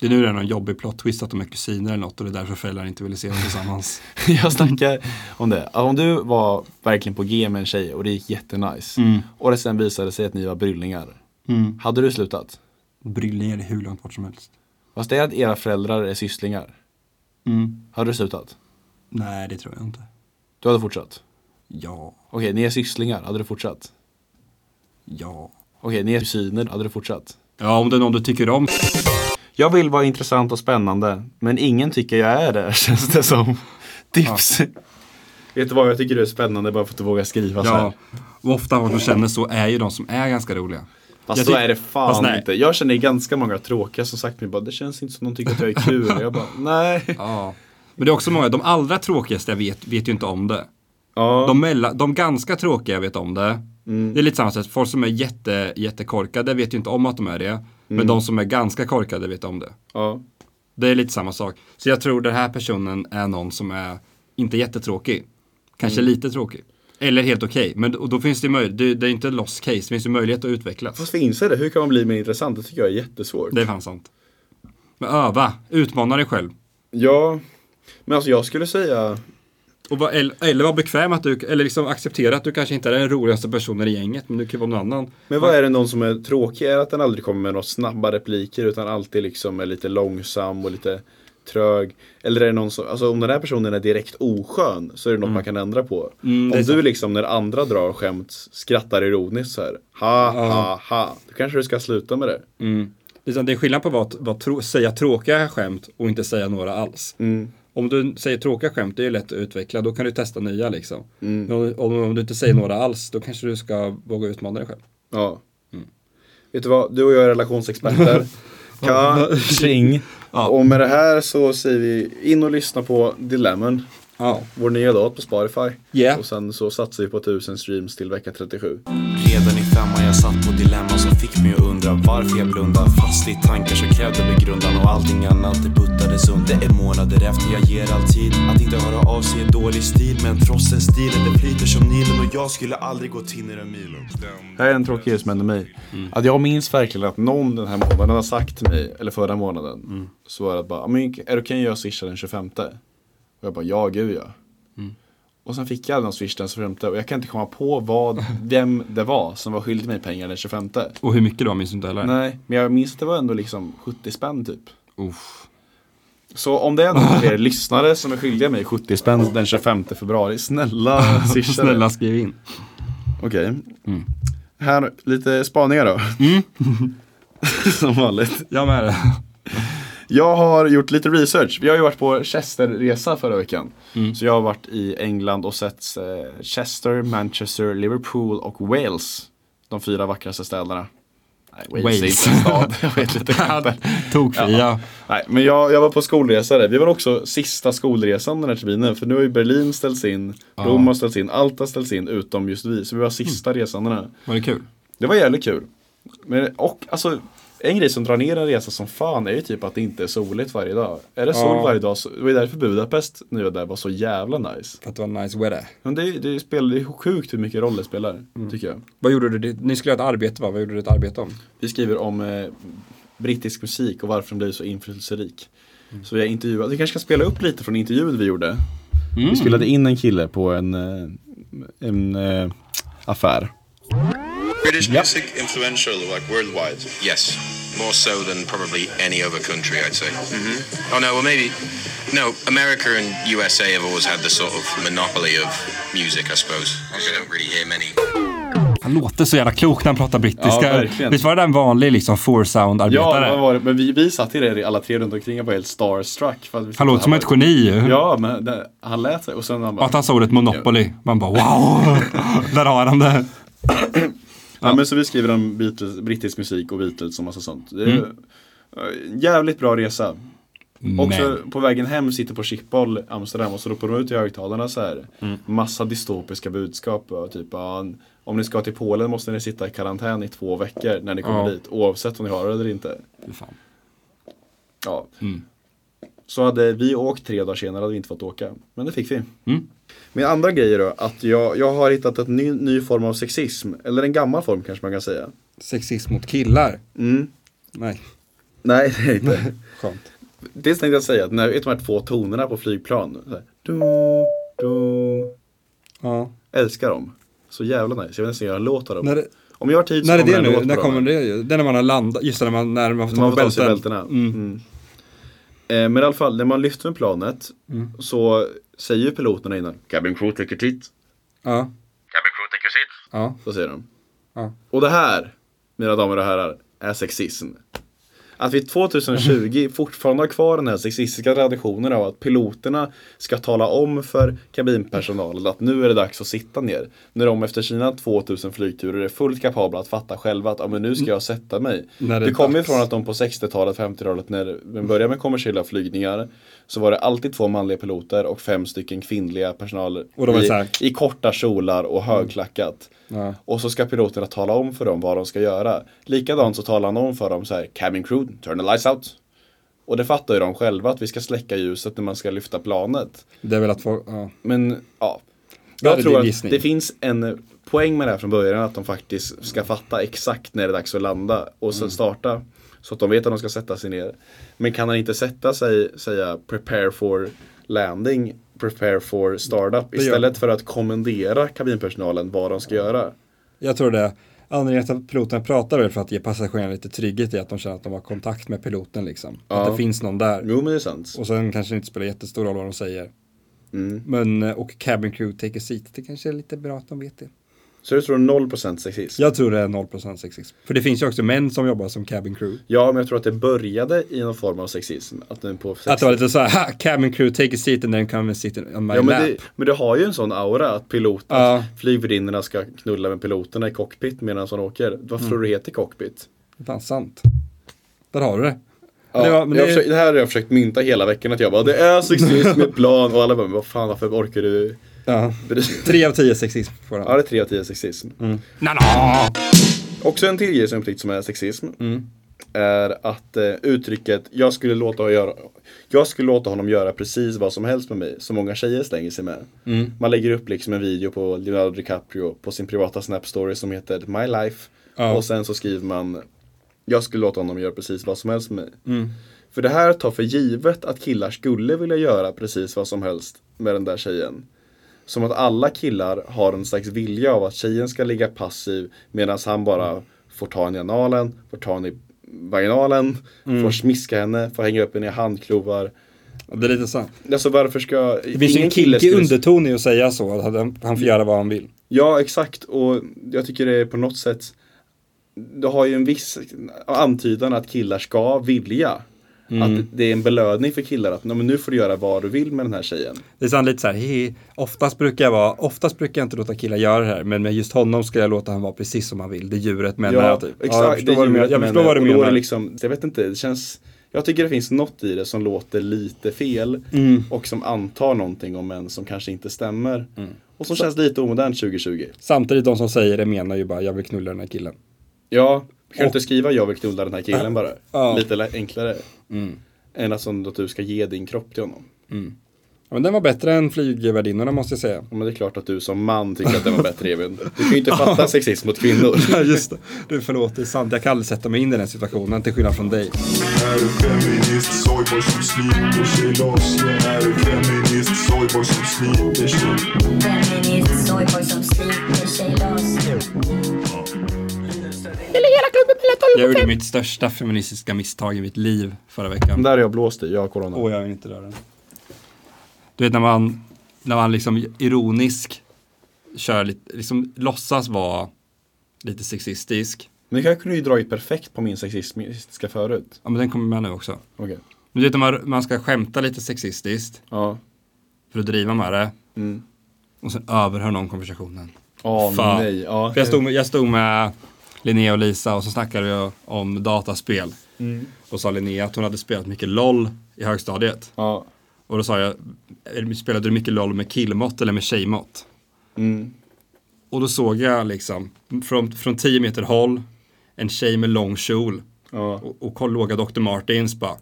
Det är nu det är någon jobbig plot twist att de är kusiner eller något och det är därför föräldrar inte ville se dem tillsammans. Jag snackar om det. Om du var verkligen på G med en tjej och det gick jättenice och det sen visade sig att ni var bryllingar. Hade du slutat? Bryllingar är hur långt bort som helst. Fast det är att era föräldrar är sysslingar. Mm. Hade du slutat? Nej, det tror jag inte. Du hade fortsatt? Ja, Okej, ni är sysslingar. Hade du fortsatt? ja. Okej, ni är kusiner. Hade du fortsatt? Ja, om det är någon du tycker om. Jag vill vara intressant och spännande, men ingen tycker jag är det, känns det som. Tips. Vet du vad, jag tycker det är spännande bara för att du vågar skriva så här. Ja, och ofta vad man känner så är ju de som är ganska roliga. Fast Jag så tyck- är det fast fan nej. inte. Jag känner ganska många tråkiga som sagt till mig bara, det känns inte som de tycker att jag är kul. jag bara, nej. Ja. Men det är också många, de allra tråkigaste jag vet, vet ju inte om det. Ja. De, mella, de ganska tråkiga vet om det. Mm. Det är lite samma sätt, folk som är jätte, jättekorkade vet ju inte om att de är det. Mm. Men de som är ganska korkade vet om det. ja. Det är lite samma sak. Så jag tror den här personen är någon som är inte jättetråkig. Kanske lite tråkig. Eller helt okej. Men och då finns det möjlighet, det, det är inte lost case, det finns ju möjlighet att utvecklas. Fast finns det? Hur kan man bli mer intressant? Det tycker jag är jättesvårt. Det är fan sant. Men öva, utmana dig själv. Ja, men alltså jag skulle säga, Och var, eller, eller var bekväm att du, eller liksom acceptera att du kanske inte är den roligaste personen i gänget, men du kan vara någon annan. men vad är det någon som är tråkig? Är det att den aldrig kommer med några snabba repliker utan alltid liksom är lite långsam och lite trög. Eller är det någon som, alltså om den här personen är direkt oskön så är det något man kan ändra på. Mm, det är om du sant. liksom när andra drar skämt skrattar ironiskt så här. Ha ha ha. Då kanske du ska sluta med det. Mm. Det är sant, det är skillnad på att vara- vara trå- säga tråkiga skämt och inte säga några alls. Om du säger tråkiga skämt, det är ju lätt att utveckla, då kan du testa nya liksom. Men om- Om, om du inte säger några alls, då kanske du ska våga utmana dig själv. Ja. Vet du vad, du och jag är relationsexperter. Kring. Ja. Och med det här så säger vi in och lyssna på Dilemmen. Ja. Vår nya låt på Spotify. Yeah. Och sen så satsar vi på 1000 streams till vecka 37. Redan i femman jag satt på dilemma som fick mig att undra varför jag blundar Fast i tankar så krävde begrundan och allting annat det puttades under Det är månader efter jag ger all tid Att inte höra av sig är dålig stil Men trossen stilen det flyter som Nilen och jag skulle aldrig gått in i den milen Det här är en tråkig grej som hände mig. Mm. Att jag minns verkligen att någon den här månaden har sagt till mig, eller förra månaden, Mm. så var det att bara, "Ah, "Men är det okej att jag swishar den 25? Och jag bara, ja gud ja. Mm. Och sen fick jag den swish den 25 och jag kan inte komma på vad, vem det var som var skyldig mig pengar den 25. Och hur mycket då minns du inte heller? Nej, men jag minns att det var ändå liksom 70 spänn typ. Uff. Så om det är någon av er lyssnare som är skyldiga mig 70 spänn den 25 februari, snälla swisha det. Snälla skriv in. Okej. Här, lite spaningar då. Som vanligt. Jag med det. Jag har gjort lite research. Vi har ju varit på Chesterresa förra veckan. Så jag har varit i England och sett eh, Chester, Manchester, Liverpool och Wales. De fyra vackraste städerna. Nej, Wales, är Wales. inte en stad. Jag vet lite knappt. Tokfria. Nej, men jag, jag var på skolresa där. Vi var också sista skolresan den här terminen. För nu har ju Berlin ställts in, Rom har ställts in, allt har ställts in utom just vi. Så vi var sista resan den här. Var det kul? Det var jävligt kul. Men, och alltså, en grej som drar ner en resa som fan är ju typ att det inte är soligt varje dag. Är det sol Ja. varje dag så, det var ju därför Budapest nu och där var så jävla nice. För att det var nice weather. Men det, det spelar ju sjukt hur mycket roll det spelar, tycker jag. Vad gjorde du? Ni skulle göra ett arbete va? Vad gjorde du ett arbete om? Vi skriver om eh, brittisk musik och varför den blir så inflytelserik. Så jag intervjuade, vi kanske ska spela upp lite från intervjun vi gjorde. Mm. Vi spelade in en kille på en, eh, en eh, affär. British music influential like worldwide. Yes, more so than probably any other country, I'd say. Mm-hmm. Oh no, well maybe no. America and USA have always had the sort of monopoly of music, I suppose. You don't really hear many. Han låter så jävla klok när han pratar Ja, brittiska. verkligen. Visst var det där en vanlig liksom four sound Ja, arbetare? vad var det? men vi, vi satt ju där alla tre runt omkring och var helt starstruck. För att vi han låter som ett var- geni ju. Ja, men det, han lät sig och sen han Och bara, att han sa ordet Monopoly. Man bara wow! Där har han det. ja. men så vi skriver om Beatles, brittisk musik och Beatles och massa sånt. Det är ju, eh, Jävligt bra resa. Också Mm. Men. på vägen hem sitter på Schiphol, Amsterdam och så ropar de ut i högtalarna så här. Mm. Massa dystopiska budskap. och Typ, ja, om ni ska till Polen måste ni sitta i karantän i två veckor när ni kommer Ja. dit. Oavsett om ni har det eller inte. Fy fan. Ja. Mm. Så hade vi åkt tre dagar senare hade vi inte fått åka. Men det fick vi. Mm. Min andra grej är då att jag, jag har hittat en ny, ny form av sexism. Eller en gammal form kanske man kan säga. Sexism mot killar? Mm. Nej, Nej, det är inte. skönt. Dels tänkte jag säga att när vet du de här två tonerna på flygplan. Så här, du, du, Ja. älskar dem. Så jävla nice. Jag vill nästan göra en låt av dem. När, det- Om jag har tid så när är kommer det en nu? låt När på dem. kommer det? ju? Det är när man har landat, just det, när man, när man får ta Man på får ta sig bälten. bältena. Mm. Mm. Eh, Men i alla fall, när man lyfter med planet Mm. så säger ju piloterna innan Cabin crew take a titt. Ja, Cabin crew, take your seats. ja. Så säger de. Ja. Och det här, mina damer och herrar, är sexism. Att vi 2020 fortfarande har kvar den här sexistiska traditionen av att piloterna ska tala om för kabinpersonalen att nu är det dags att sitta ner. När de efter sina 2000 flygturer är fullt kapabla att fatta själva att ja, men nu ska jag sätta mig. När det är det kommer ju dags. från att de på 60-talet, 50-talet när man började med kommersiella flygningar så var det alltid två manliga piloter och fem stycken kvinnliga personal Och de är i, så här. i korta kjolar och högklackat. Ja. Och så ska piloterna tala om för dem vad de ska göra. Likadant så talar han om för dem så här, cabin crew, turn the lights out. Och det fattar ju de själva att vi ska släcka ljuset när man ska lyfta planet. Det är väl att folk, ja. Men ja, Ja, jag det är tror att gissning. det finns en poäng med det här från början att de faktiskt ska fatta exakt när det är dags att landa och Mm. sen starta. Så att de vet att de ska sätta sig ner. Men kan han inte sätta sig, säga prepare for landing, prepare for startup gör- istället för att kommendera kabinpersonalen vad de ska göra. Jag tror det. Anledningen till att piloten pratar är väl för att ge passagerarna lite trygghet i att de känner att de har kontakt med piloten liksom. Att det finns någon där. Jo, men det är sant. Och sen kanske det inte spelar jättestor roll vad de säger. Men, eh, och cabin crew take a seat, det kanske är lite bra att de vet det. Så du tror 0% sexism? Jag tror det är 0% sexism. För det finns ju också män som jobbar som cabin crew. Ja, men jag tror att det började i någon form av sexism. Att den på Att det var lite så här, "Ha, cabin crew take a seat and then come and sit on my Ja, lap. men, det, men det har ju en sån aura att pilot, Ja. att flygvärdinnorna ska knulla med piloterna i cockpit medan de åker. Varför tror du det heter cockpit? Det är fan sant. Där har du det. Ja, det, det, var, men jag det, försöker- det här har jag försökt mynta hela veckan att jag bara det är sexism med plan och alla bara "Men vad fan varför orkar du? ja. bry- Tre av tio sexism får Ja han. det är 3 av 10 sexism. Också en till grej som jag upptäckt som är sexism är att eh, uttrycket jag skulle, låta göra, jag skulle låta honom göra precis vad som helst med mig som många tjejer slänger sig med. Man lägger upp liksom en video på Leonardo DiCaprio på sin privata Snap story som heter My Life Ja. och sen så skriver man jag skulle låta honom göra precis vad som helst med mig. För det här tar för givet att killar skulle vilja göra precis vad som helst med den där tjejen. Som att alla killar har en slags vilja av att tjejen ska ligga passiv medan han Mm. bara får ta henne i analen, får ta henne i vaginalen, Mm. får smiska henne, får hänga upp henne i handklovar. Det är lite sant. Alltså varför ska... Det finns ju en kinkig underton i att säga så, att han- han får göra vad han vill. Ja, exakt. Och jag tycker det är på något sätt, det har ju en viss antydan att killar ska vilja. Mm. Att det är en belöning för killar att "Nej, men nu får du göra vad du vill med den här tjejen. Det är sant lite så här, "Hehe, oftast brukar jag vara, oftast brukar jag inte låta killar göra det här, men med just honom ska jag låta han vara precis som han vill. Det är djuret menar jag typ. Exakt, ja, jag förstår det vad du menar. Jag förstår vad du och då är menar. det liksom, jag vet inte, det känns jag tycker det finns något i det som låter lite fel Mm. och som antar någonting om en som kanske inte stämmer. Mm. Och som känns lite omodernt 2020. Samtidigt de som säger det menar ju bara, jag vill knulla den här killen. Ja, kan du inte skriva jag vill knulla den här killen bara? Ja. Mm. Lite lä- enklare. Än att, som, att du ska ge din kropp till honom. Ja, men den var bättre än flygvärdinnorna måste jag säga. Ja, Men det är klart att du som man tycker att det var bättre Evin. Du kan ju inte fatta sexism mot kvinnor. just det. Du förlåt, det är sant. Jag kan aldrig sätta mig in i den situationen, till skillnad från dig. Är en feminist, soyboy som sliter sig loss Jag är en feminist, soyboy som sliter sig Feminist soyboy som sliter sig loss. Jag gjorde mitt största feministiska misstag i mitt liv förra veckan. Där har jag blåst i, jag har corona. Åh, jag vill inte röra den. Du vet när man, när man liksom ironisk kör lite, liksom låtsas vara lite sexistisk. Men jag kunde ju dragit perfekt på min sexistiska förut. Ja men den kommer med nu också. Okej. Men du vet när man, man ska skämta lite sexistiskt Ja. för att driva med det. Mm. Och sen överhör någon konversationen. Åh Fan. nej. Ja. För jag, stod med, jag stod med Linnea och Lisa och så snackade jag om dataspel. Mm. Och sa Linnea att hon hade spelat mycket LOL i högstadiet. Ja. Och då sa jag, "Är- spelade du mycket LOL med killmått eller med tjejmått? Mm. Och då såg jag liksom från, från 10 meter håll en tjej med lång kjol Ja. och, och koll- låga Dr. Martins bara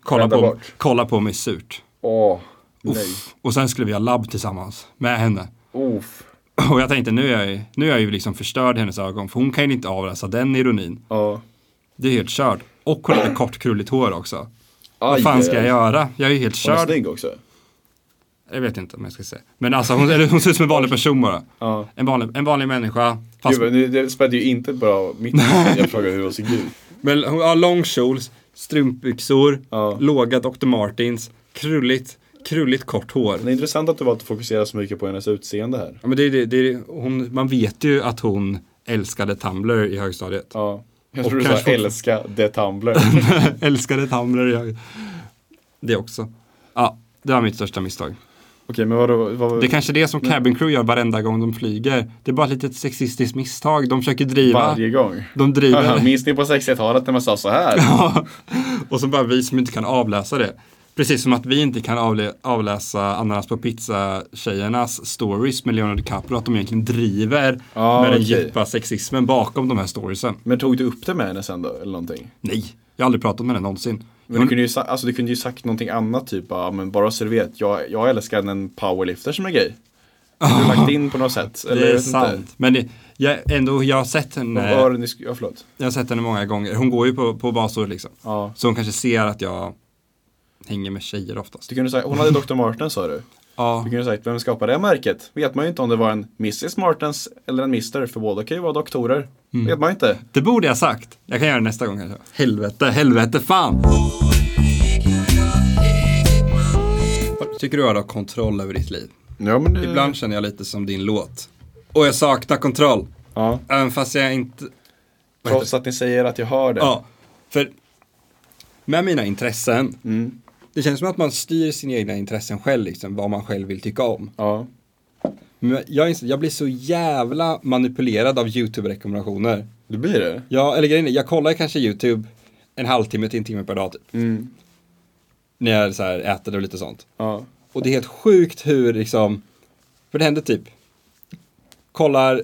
kolla Vända på, bort. kolla på mig surt. Åh. Nej. Uff. Och sen skulle vi ha labb tillsammans med henne. Uff. Och jag tänkte nu är jag, ju- nu är jag ju liksom förstörd i hennes ögon för hon kan ju inte avläsa den ironin. Ja. Det är helt körd. Och hon hade kort krulligt hår också. Vad Aj, fan ska aj, jag aj. göra? Jag är ju helt Hon är körd. snygg också. Jag vet inte om jag ska säga. Men alltså hon, eller hon ser ut som en vanlig person bara. Ja. En, vanlig, en vanlig människa. Fast Gud, men det- det spädde ju inte bra mitt Jag frågade hur hon såg ut. Men hon har lång kjol, strumpbyxor, Ja. låga Dr. Martins, krulligt, krulligt kort hår. Det är intressant att du valt att fokusera så mycket på hennes utseende här. Ja, men det, är- det, är- det, är- hon, man vet ju att hon älskade Tumblr i högstadiet. Ja. Jag Och tror du sa kanske också- älska the Tumblr. älskade Tumblr i hög... Det också. Ja, det var mitt största misstag. Okej, men vadå? Vad, Det är kanske det som cabin crew gör varenda gång de flyger. Det är bara ett litet sexistiskt misstag. De försöker driva. varje gång. De driver. Minns ni på 60-talet när man sa så här? och så bara vi som inte kan avläsa det. Precis som att vi inte kan avlä- avläsa ananas på pizza-tjejernas stories med Leonardo DiCaprio. Att de egentligen driver Ja, med den okej. djupa sexismen bakom de här storiesen. Men tog du upp det med henne sen då, eller någonting? Nej, jag har aldrig pratat med henne någonsin. Men du kunde ju, sa- alltså, du kunde ju sagt någonting annat, typ ja, men bara så du vet, jag, jag älskar en powerlifter som är gay. Har du lagt in på något sätt? Eller Det jag är vet inte. sant. Men det, jag, ändå, jag har sett eh, Vad henne. var det ni sk- Ja, förlåt. Jag har sett henne många gånger. Hon går ju på, på basår liksom. Ja. Så hon kanske ser att jag hänger med tjejer oftast. Du kunde säga, hon hade Dr. Martens sa du? Ja. Du kunde ju ha sagt, vem skapar det märket? Vet man ju inte om det var en Mrs Martens eller en Mr. För båda kan ju vara doktorer. Mm. Vet man inte. Det borde jag sagt. Jag kan göra det nästa gång kanske. Helvete, helvete, fan! Vad Tycker du att du har kontroll över ditt liv? Ja, men det... Ibland känner jag lite som din låt. Och jag saknar kontroll. Ja. Även fast jag inte... Trots att ni säger att jag hör det. Ja, för med mina intressen. Det känns som att man styr sina egna intressen själv, liksom, vad man själv vill tycka om. Ja. Men jag, inser- jag blir så jävla manipulerad av YouTube-rekommendationer. Det blir det. Ja, eller grejen är, jag kollar kanske YouTube en halvtimme till en timme per dag typ. När jag så här äter och lite sånt. Ja. Och det är helt sjukt hur liksom, för det händer typ, kollar,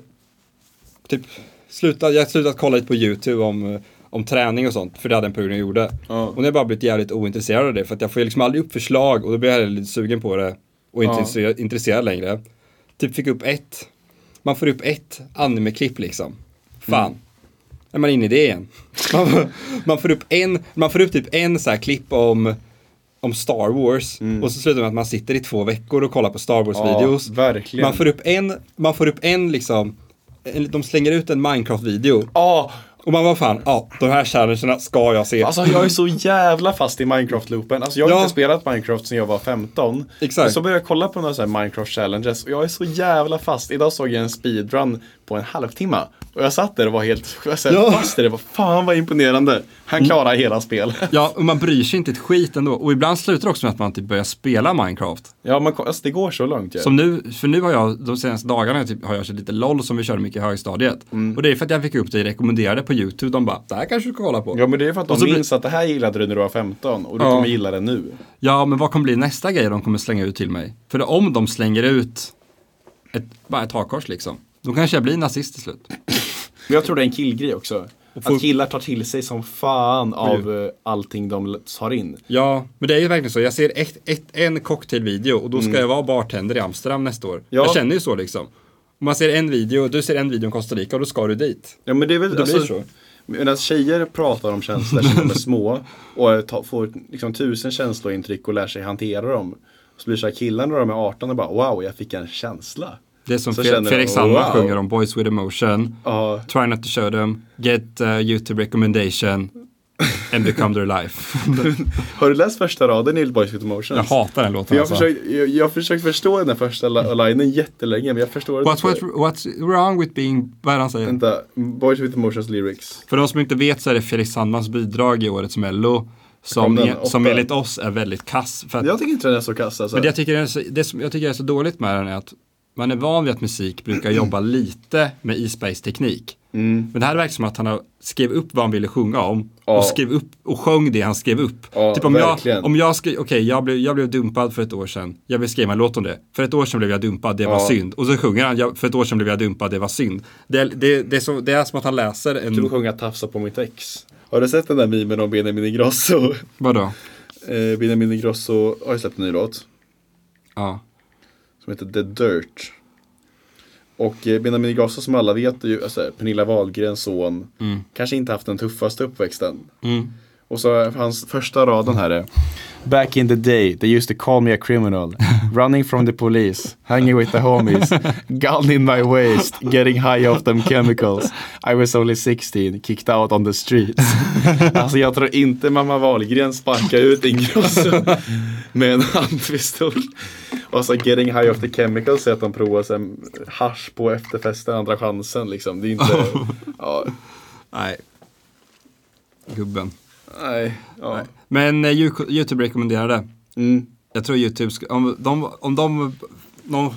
typ, sluta, jag har slutat kolla lite på YouTube om, eh, om träning och sånt, för det hade en period jag gjorde. Ja. Och nu har jag bara blivit jävligt ointresserad av det, för att jag får ju liksom aldrig upp förslag och då blir jag lite sugen på det och inte Ja. intresse- intresserad längre. Typ fick upp ett, man får upp ett anime-klipp liksom. Fan. Är man inne i det igen? Man får, man får upp en, man får upp typ en så här klipp om om Star Wars och så slutar det med att man sitter i två veckor och kollar på Star Wars-videos. Mm. Ja, verkligen. man får upp en, man får upp en liksom, en, de slänger ut en Minecraft-video. Ja, Och man var fan, ja, de här challengerna ska jag se. alltså jag är så jävla fast i Minecraft-loopen. Alltså jag har Ja. inte spelat Minecraft sedan jag var 15. Exakt. Men Så började jag kolla på några så här Minecraft-challenges och jag är så jävla fast. Idag såg jag en speedrun på en halvtimme. Och jag satt där och var helt så här, Ja. fast i det. Vad Fan vad imponerande. Han klarar hela spel. Ja, och man bryr sig inte ett skit ändå. Och ibland slutar det också med att man typ börjar spela Minecraft. Ja, men ko- alltså, det går så långt ju. Som nu, för nu har jag, de senaste dagarna har jag typ, har jag kört lite LOL som vi körde mycket i högstadiet. Mm. Och det är för att jag fick upp det rekommenderade på YouTube. De bara, det här kanske du ska kolla på. Ja, men det är för att Och de så blir- minns att det här gillade du när du var 15 och du Ja. kommer gilla det nu. Ja, men vad kommer bli nästa grej de kommer slänga ut till mig? För om de slänger ut ett, bara ett hakkors liksom, då kanske jag blir nazist till slut. Men jag tror det är en killgrej också. folk- Att killar tar till sig som fan av eh, allting de l- tar in. Ja, men det är ju verkligen så. Jag ser ett, ett, en cocktailvideo och då ska jag vara bartender i Amsterdam nästa år. Ja. Jag känner ju så liksom. Om man ser en video, du ser en video om Costa Rica och då ska du dit. Ja men det är väl Det blir så. alltså, medan tjejer pratar om känslor som de är små och eh, ta, får liksom tusen känslointryck och lär sig hantera dem. Så blir det så här killar när de är 18 och bara wow, jag fick en känsla. Det är som Så Fe- känner de, Felix Sandman wow. sjunger om Boys with Emotion. Ja. Try not to show them, get uh, YouTube recommendation and become their life. Har du läst första raden i Boys with Emotions? jag hatar den För låten alltså. jag, har försökt, jag, jag har försökt förstå den där första la- linen jättelänge men jag förstår What's, inte. what's, what's wrong with being, vad är det han säger? Vänta, Boys with Emotions lyrics. För de som inte vet så är det Felix Sandmans bidrag i årets Mello som, Kom den, e, som åtta. enligt oss är väldigt kass. För att, Jag tycker inte den är så kass alltså. men det jag, tycker är så, det som jag tycker är så dåligt med den är att man är van vid att musik brukar jobba lite med isbergsteknik. Men det här verkar som att han har skrev upp vad han ville sjunga om Mm. Ja. och, skrev upp och sjöng det han skrev upp. Ja, typ om jag, verkligen. om jag skrev, okej jag, blev, jag blev dumpad för ett år sedan, jag vill skriva en låt om det. För ett år sedan blev jag dumpad, det var synd. Och så sjunger han, "Jag- för ett år sedan blev jag dumpad, det var synd. Det, det, det, är, så, det är som att han läser Du en, sjunga Tafsa på mitt ex. Har du sett den där memen om Benjamin Ingrosso? vadå? Eh, Benjamin Ingrosso har ju släppt en ny låt Ja. som heter The Dirt. Och eh, Benjamin Ingrosso som alla vet är ju alltså, Pernilla Wahlgrens son. Kanske inte haft den tuffaste uppväxten. Och så eh, hans första raden här är Back in the day they used to call me a criminal Running from the police Hanging with the homies Gun in my waist Getting high off them chemicals I was only 16 Kicked out on the streets Alltså jag tror inte mamma Wahlgren sparkar ut Ingrosso med en handpistol. Och så getting high off the chemicals är att de provar så här hasch på efterfesten, andra chansen liksom. Det är inte, ja, Nej. Gubben. nej, ja. Men eh, Ju- YouTube rekommenderade. Mm. Jag tror YouTube, sk- om de, om de, de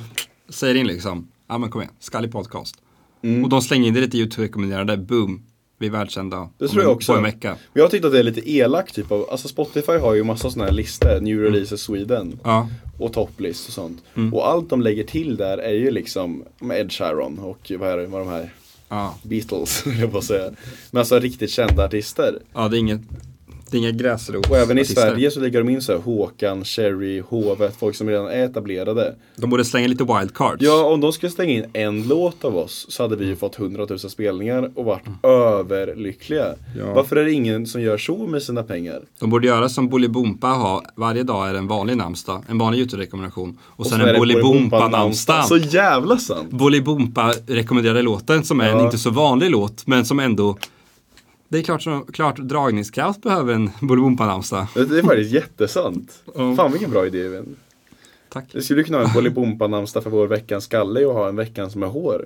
säger in liksom, ja men kom igen, skallig podcast. Mm. Och de slänger in det lite YouTube rekommenderade, boom, vi är världskända. Det om tror en- jag På också. en vecka. Men jag tyckte att det är lite elakt typ av, alltså Spotify har ju massa sådana här listor, New Releases Sweden. Mm. Ja. Mm. Och topplist och sånt. Och allt de lägger till där är ju liksom med Ed Sheeran och vad är det, vad de här Ja. Beatles, höll jag på att säga. Men alltså riktigt kända artister. ja, det är inget, Det är inga gräsrot. Och även i artister. Sverige så ligger de in så här Håkan, Cherry, Hovet, folk som redan är etablerade. De borde slänga lite wildcards. Ja, om de skulle stänga in en låt av oss så hade vi ju fått 100 000 spelningar och varit överlyckliga. Mm. Ja. Varför är det ingen som gör så med sina pengar? De borde göra som Bolibompa har. Varje dag är det en vanlig namnsdag, en vanlig YouTube-rekommendation. Och, sen så är en det Bolibompa-namnsdag. Så jävla sant! Bolibompa-rekommenderade låten som är en inte så vanlig låt, men som ändå... Det är klart, som- klart dragningskraft behöver en Bolibompa-namnsdag. Det det är faktiskt jättesant. Ja. Fan vilken bra idé Evin. Tack. Vi skulle kunna ha en Bolibompa-namnsdag för vår veckans skalle och ha en veckans med hår.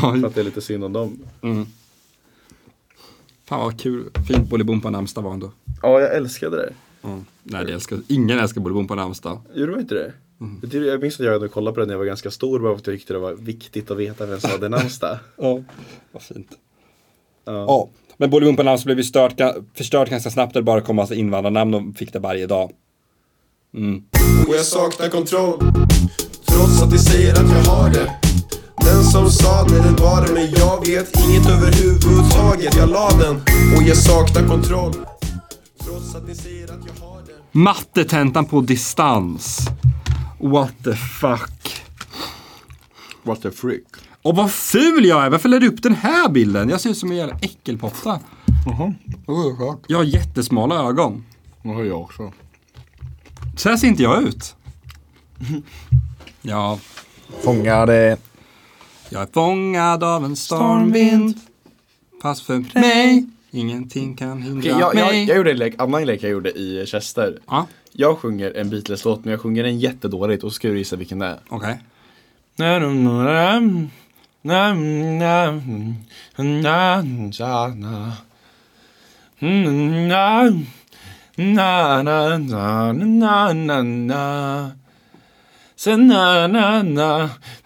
För att det är lite synd om dem. Fan vad kul, fint Bolibompa-namnsdag var ändå. Ja, jag älskade det. Nej, det älskar, ingen älskar Bolibompa-namnsdag. Gjorde man inte det? Jag tyckte- Jag minns att jag ändå kollade på det när jag var ganska stor bara för att jag tyckte det var viktigt att veta vem som hade namnsdag. Ja, vad fint. Ja. Men Bolibompa-namnsdag blev ju stört, förstört ganska snabbt där det bara kom massa invandrarnamn och fick det varje dag. Och jag saknar kontroll Trots att de säger att jag har det Den som sa det den var det Men jag vet inget överhuvudtaget Jag la den och jag saknar kontroll Trots att ni säger att jag har det Mattetentan på distans. What the fuck. What the freak? Och vad ful jag är! Varför la du upp den här bilden? Jag ser ut som en jävla äckelpotta. Oh, Jag har jättesmala ögon. det har jag också. Så här ser inte jag ut. Ja, Fångade... jag är fångad av en stormvind. Fast för mig, ingenting kan hindra jag, jag, mig. jag gjorde en lek, annan lek jag gjorde i Chester. Ja, Jag sjunger en Beatles-låt men jag sjunger den jättedåligt och ska du gissa vilken det är. okej.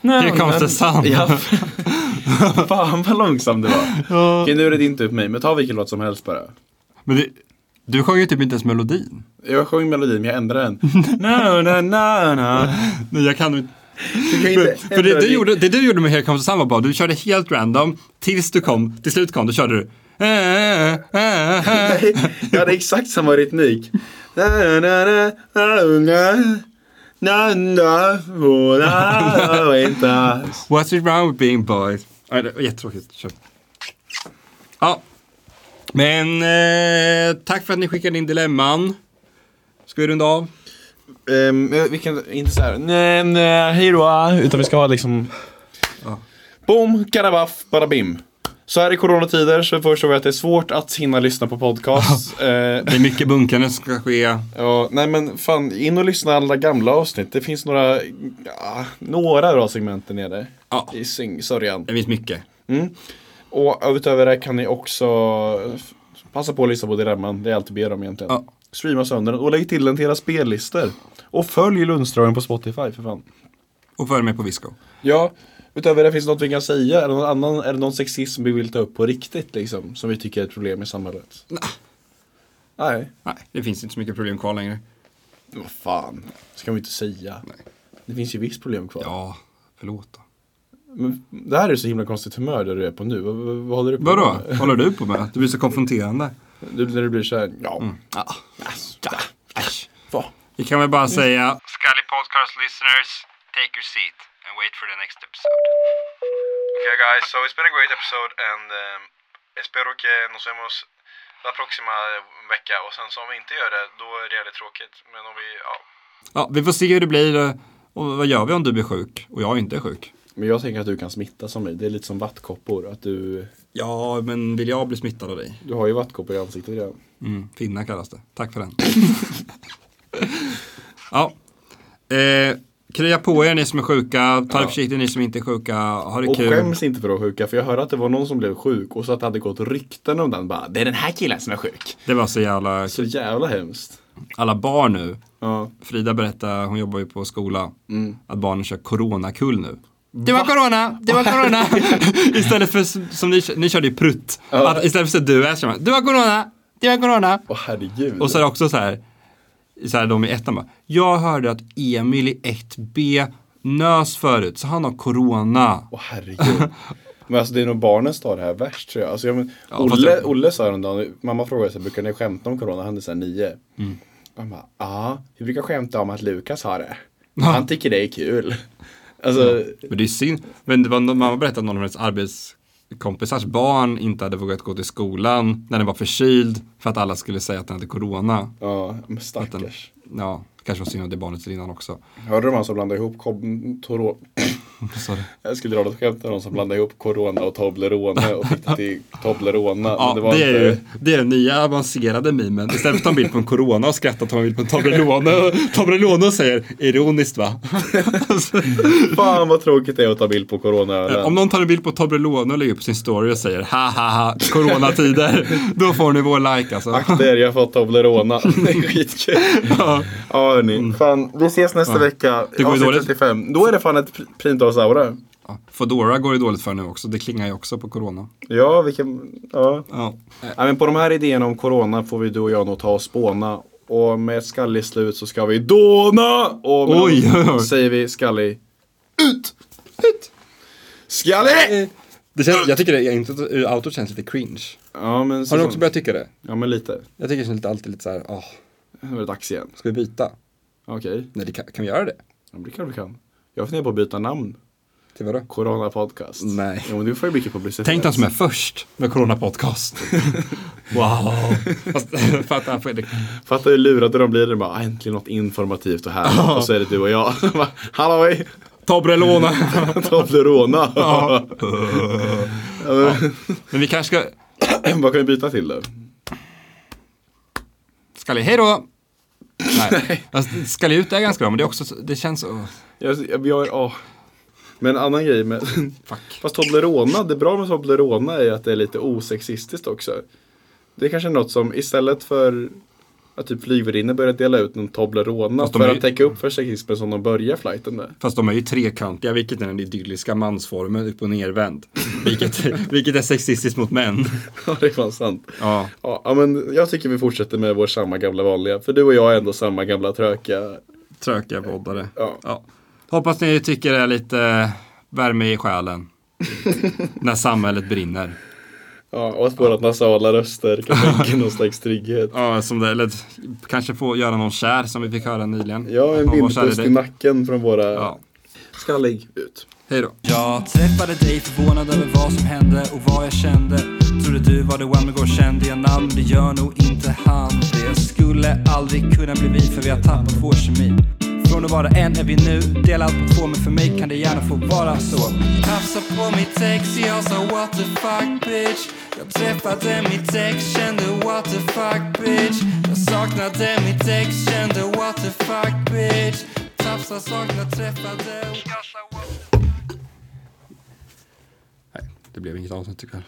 Here comes the sun. Ja. Fan vad långsam det var. Okej nu är det din tur på mig, men ta vilken låt som helst bara. Men det, du sjöng ju typ inte ens melodin. Jag sjöng melodin men jag ändrade den. na, na, na, na. Nej, jag kan inte. Du kan ju inte För det ändra du, din- gjorde, det du gjorde med Here comes the sun var bara, du körde helt random tills du kom, till slut kom, då körde du. Eh, Jag hade exakt samma rytmik. Na, na, na, na, na. Na, na, oh, na, oh, inte. What's it wrong with being boys? Nej, det var jättetråkigt. Kör. Ja. Men eh, tack för att ni skickade in dilemman. Ska vi runda av? Ehm, vi kan inte så här, nej, nej, hej då, utan vi ska ha liksom... Boom, karabaff, bara bim. Så här i coronatider så förstår vi att det är svårt att hinna lyssna på podcasts. Eh, Det är mycket bunkande som ska ske. ja, nej men fan, in och lyssna alla gamla avsnitt. Det finns några, ja, några bra segment där nere. Ja. I syng, sörjan. Det finns mycket. Och utöver det kan ni också f- passa på att lyssna på Dilemman. Det är allt vi ber om egentligen. Ja. Streama sönder den och lägg till den till era spellistor. Och följ Lundström på Spotify för fan. Och följ med på Visco. Ja, utöver det finns det något vi kan säga. Är det någon, annan, är det någon sexism vi vill ta upp på riktigt liksom? Som vi tycker är ett problem i samhället? Nej. Nej, det finns inte så mycket problem kvar längre. Nej, vad fan. Det kan vi inte säga. Det finns ju visst problem kvar. Ja, förlåt då. Men det här är så himla konstigt humör där du är på nu. Vad, vad, vad håller du på Vadå? med? Håller du på med? Du blir så konfronterande. Du, när du blir såhär, ja. Mm. Vi kan väl bara säga Scully Podcast listeners, take your seat and wait for the next episode. Okay guys, so it's been a great episode and um, espero que nos vemos la próxima vecka och sen så om vi inte gör det då är det jävligt tråkigt. Men om vi, ja. Ja, vi får se hur det blir. eh, Och vad gör vi om du blir sjuk och jag inte är sjuk? Men jag tänker att du kan smitta som mig. Det är lite som vattkoppor. Att du, Ja, men vill jag bli smittad av dig? du har ju vattkoppor i ansiktet redan. Mm, finna kallas det. Tack för den. ja. Eh, krya på er ni som är sjuka. Ta det försiktigt ni som inte är sjuka. Ha det Och kul. skäms inte för att vara sjuka. För jag hörde att det var någon som blev sjuk och så att det hade gått rykten om den. Bara, det är den här killen som är sjuk. Det var så jävla... Så jävla hemskt. Alla barn nu. Ja. Frida berättade, hon jobbar ju på skola, att barnen kör coronakull nu. Det var corona, det var corona. istället för s- som ni, ni körde ju prutt. Att istället för så du är så kör man, det var corona, det var corona. Åh herregud. Och så är det också så här, så här de i ettan bara, jag hörde att Emil i 1B nös förut, så han har corona. Åh herregud. Men alltså det är nog barnen som tar det här värst tror jag. Alltså, jag men, Ja, fast Olle, det- Olle sa häromdagen, mamma frågade sig, brukar ni skämta om corona? Han är såhär nio. Mm. Han bara, ja, vi brukar skämta om att Lukas har det. Han tycker det är kul. Alltså, Men det är synd. Men det var, någon- mamma berättade att någon av hennes arbetskompisars barn inte hade vågat gå till skolan när den var förkyld för att alla skulle säga att den hade corona. ja, men Att den, stackars. ja, kanske var synd om det barnet innan också. Hörde du om han som blandade ihop kom, toro, Sorry. Jag skulle dra något skämt om någon som blandade ihop corona och Toblerone och fick det till Toblerone. Ja, men det, det var är inte... ju, det är den nya avancerade memen. Istället för att ta en bild på en corona och skratta tar man en bild på en Toblerone. Toblerone och säger ironiskt va? Fan vad tråkigt det är att ta bild på corona Eh, Om någon tar en bild på Toblerone och lägger upp sin story och säger ha ha ha coronatider. Då får ni vår like alltså. Akta er, jag har fått Toblerone. Det är skitkul. Ja. Ja hörni, fan vi ses nästa vecka. Mm. Det går ju Avsnitt dåligt. 35. Då är det fan ett pr- primtalsaura. Foodora går ju dåligt för nu också. Det klingar ju också på corona. Ja, vilken... Ja. Ja. ja. men på de här idéerna om corona får vi du och jag nog ta och spåna. Och med ett skallig slut så ska vi dåna! Och med Oj, de- oj, oj. säger vi skallig ut! Ut! Skallig! Eh, Det känns, jag tycker det, inte, autot känns lite cringe. Ja men, Har du säsong- också börjat tycka det? ja men lite. Jag tycker det känns lite, alltid lite så här, åh, Nu är det dags igen. ska vi byta? Okej, Nej, det kan, kan vi göra det? ja, men det kanske vi kan. Jag funderar på att byta namn. Till vadå? Corona podcast. Nej. Jo men du får ju typ mycket publicitet. Tänk den som är först med Corona Podcast. wow. Fast, för att han får det. Fattar hur lurade de blir. De bara äntligen något informativt och här. och så är det du och jag. Bara, Halloj! Toblerone. Toblerona. Ja. Ja. Men vi kanske ska, Vad kan vi byta till då? ska vi, hej då! Nej, alltså, ska ut är ganska bra, men det är också, så- det känns, åh, Jag, jag, jag, åh. Men en annan grej med... fuck. Fast Toblerona, det bra med Toblerona är att det är lite osexistiskt också. Det är kanske något som istället för att typ flygvärdinnor börjar dela ut en Toblerona Fast de för är ju- att täcka upp för sexismen som de börjar flighten med. Fast de är ju trekantiga, vilket är den idylliska mansformen, upp och nervänd. Vilket, vilket är sexistiskt mot män. Ja, det är fan sant. Ja. Ja, ja, men jag tycker vi fortsätter med vår samma gamla vanliga. För du och jag är ändå samma gamla tröka. Trökiga poddare. Ja. Hoppas ni tycker det är lite värme i själen. när samhället brinner. Ja, och att våra nasala röster kan skänka någon slags trygghet. Ja, som det, eller kanske få göra någon kär som vi fick höra nyligen. Ja, en Om vår vindpust kära i idé. nacken från våra... Ja, Skallig ut. hej då. Jag träffade dig förvånad över vad som hände och vad jag kände Trodde du var the one igår kände jag namn, det gör nog inte han Det skulle aldrig kunna bli vi för vi har tappat vår kemi Från att vara en är vi nu, delad på två men för mig kan det gärna få vara så Tafsa på mitt ex, jag sa what the fuck bitch Jag träffade mitt ex, kände what the fuck bitch Jag saknade mitt ex, kände what the fuck bitch Tafsa, sakna, träffade och kasta what the Nej, det blev inget avsnitt tycker jag.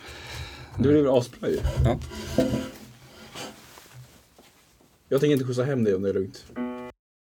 Det blev asbra ju. Ja. Jag tänker inte skjutsa hem dig om det är lugnt.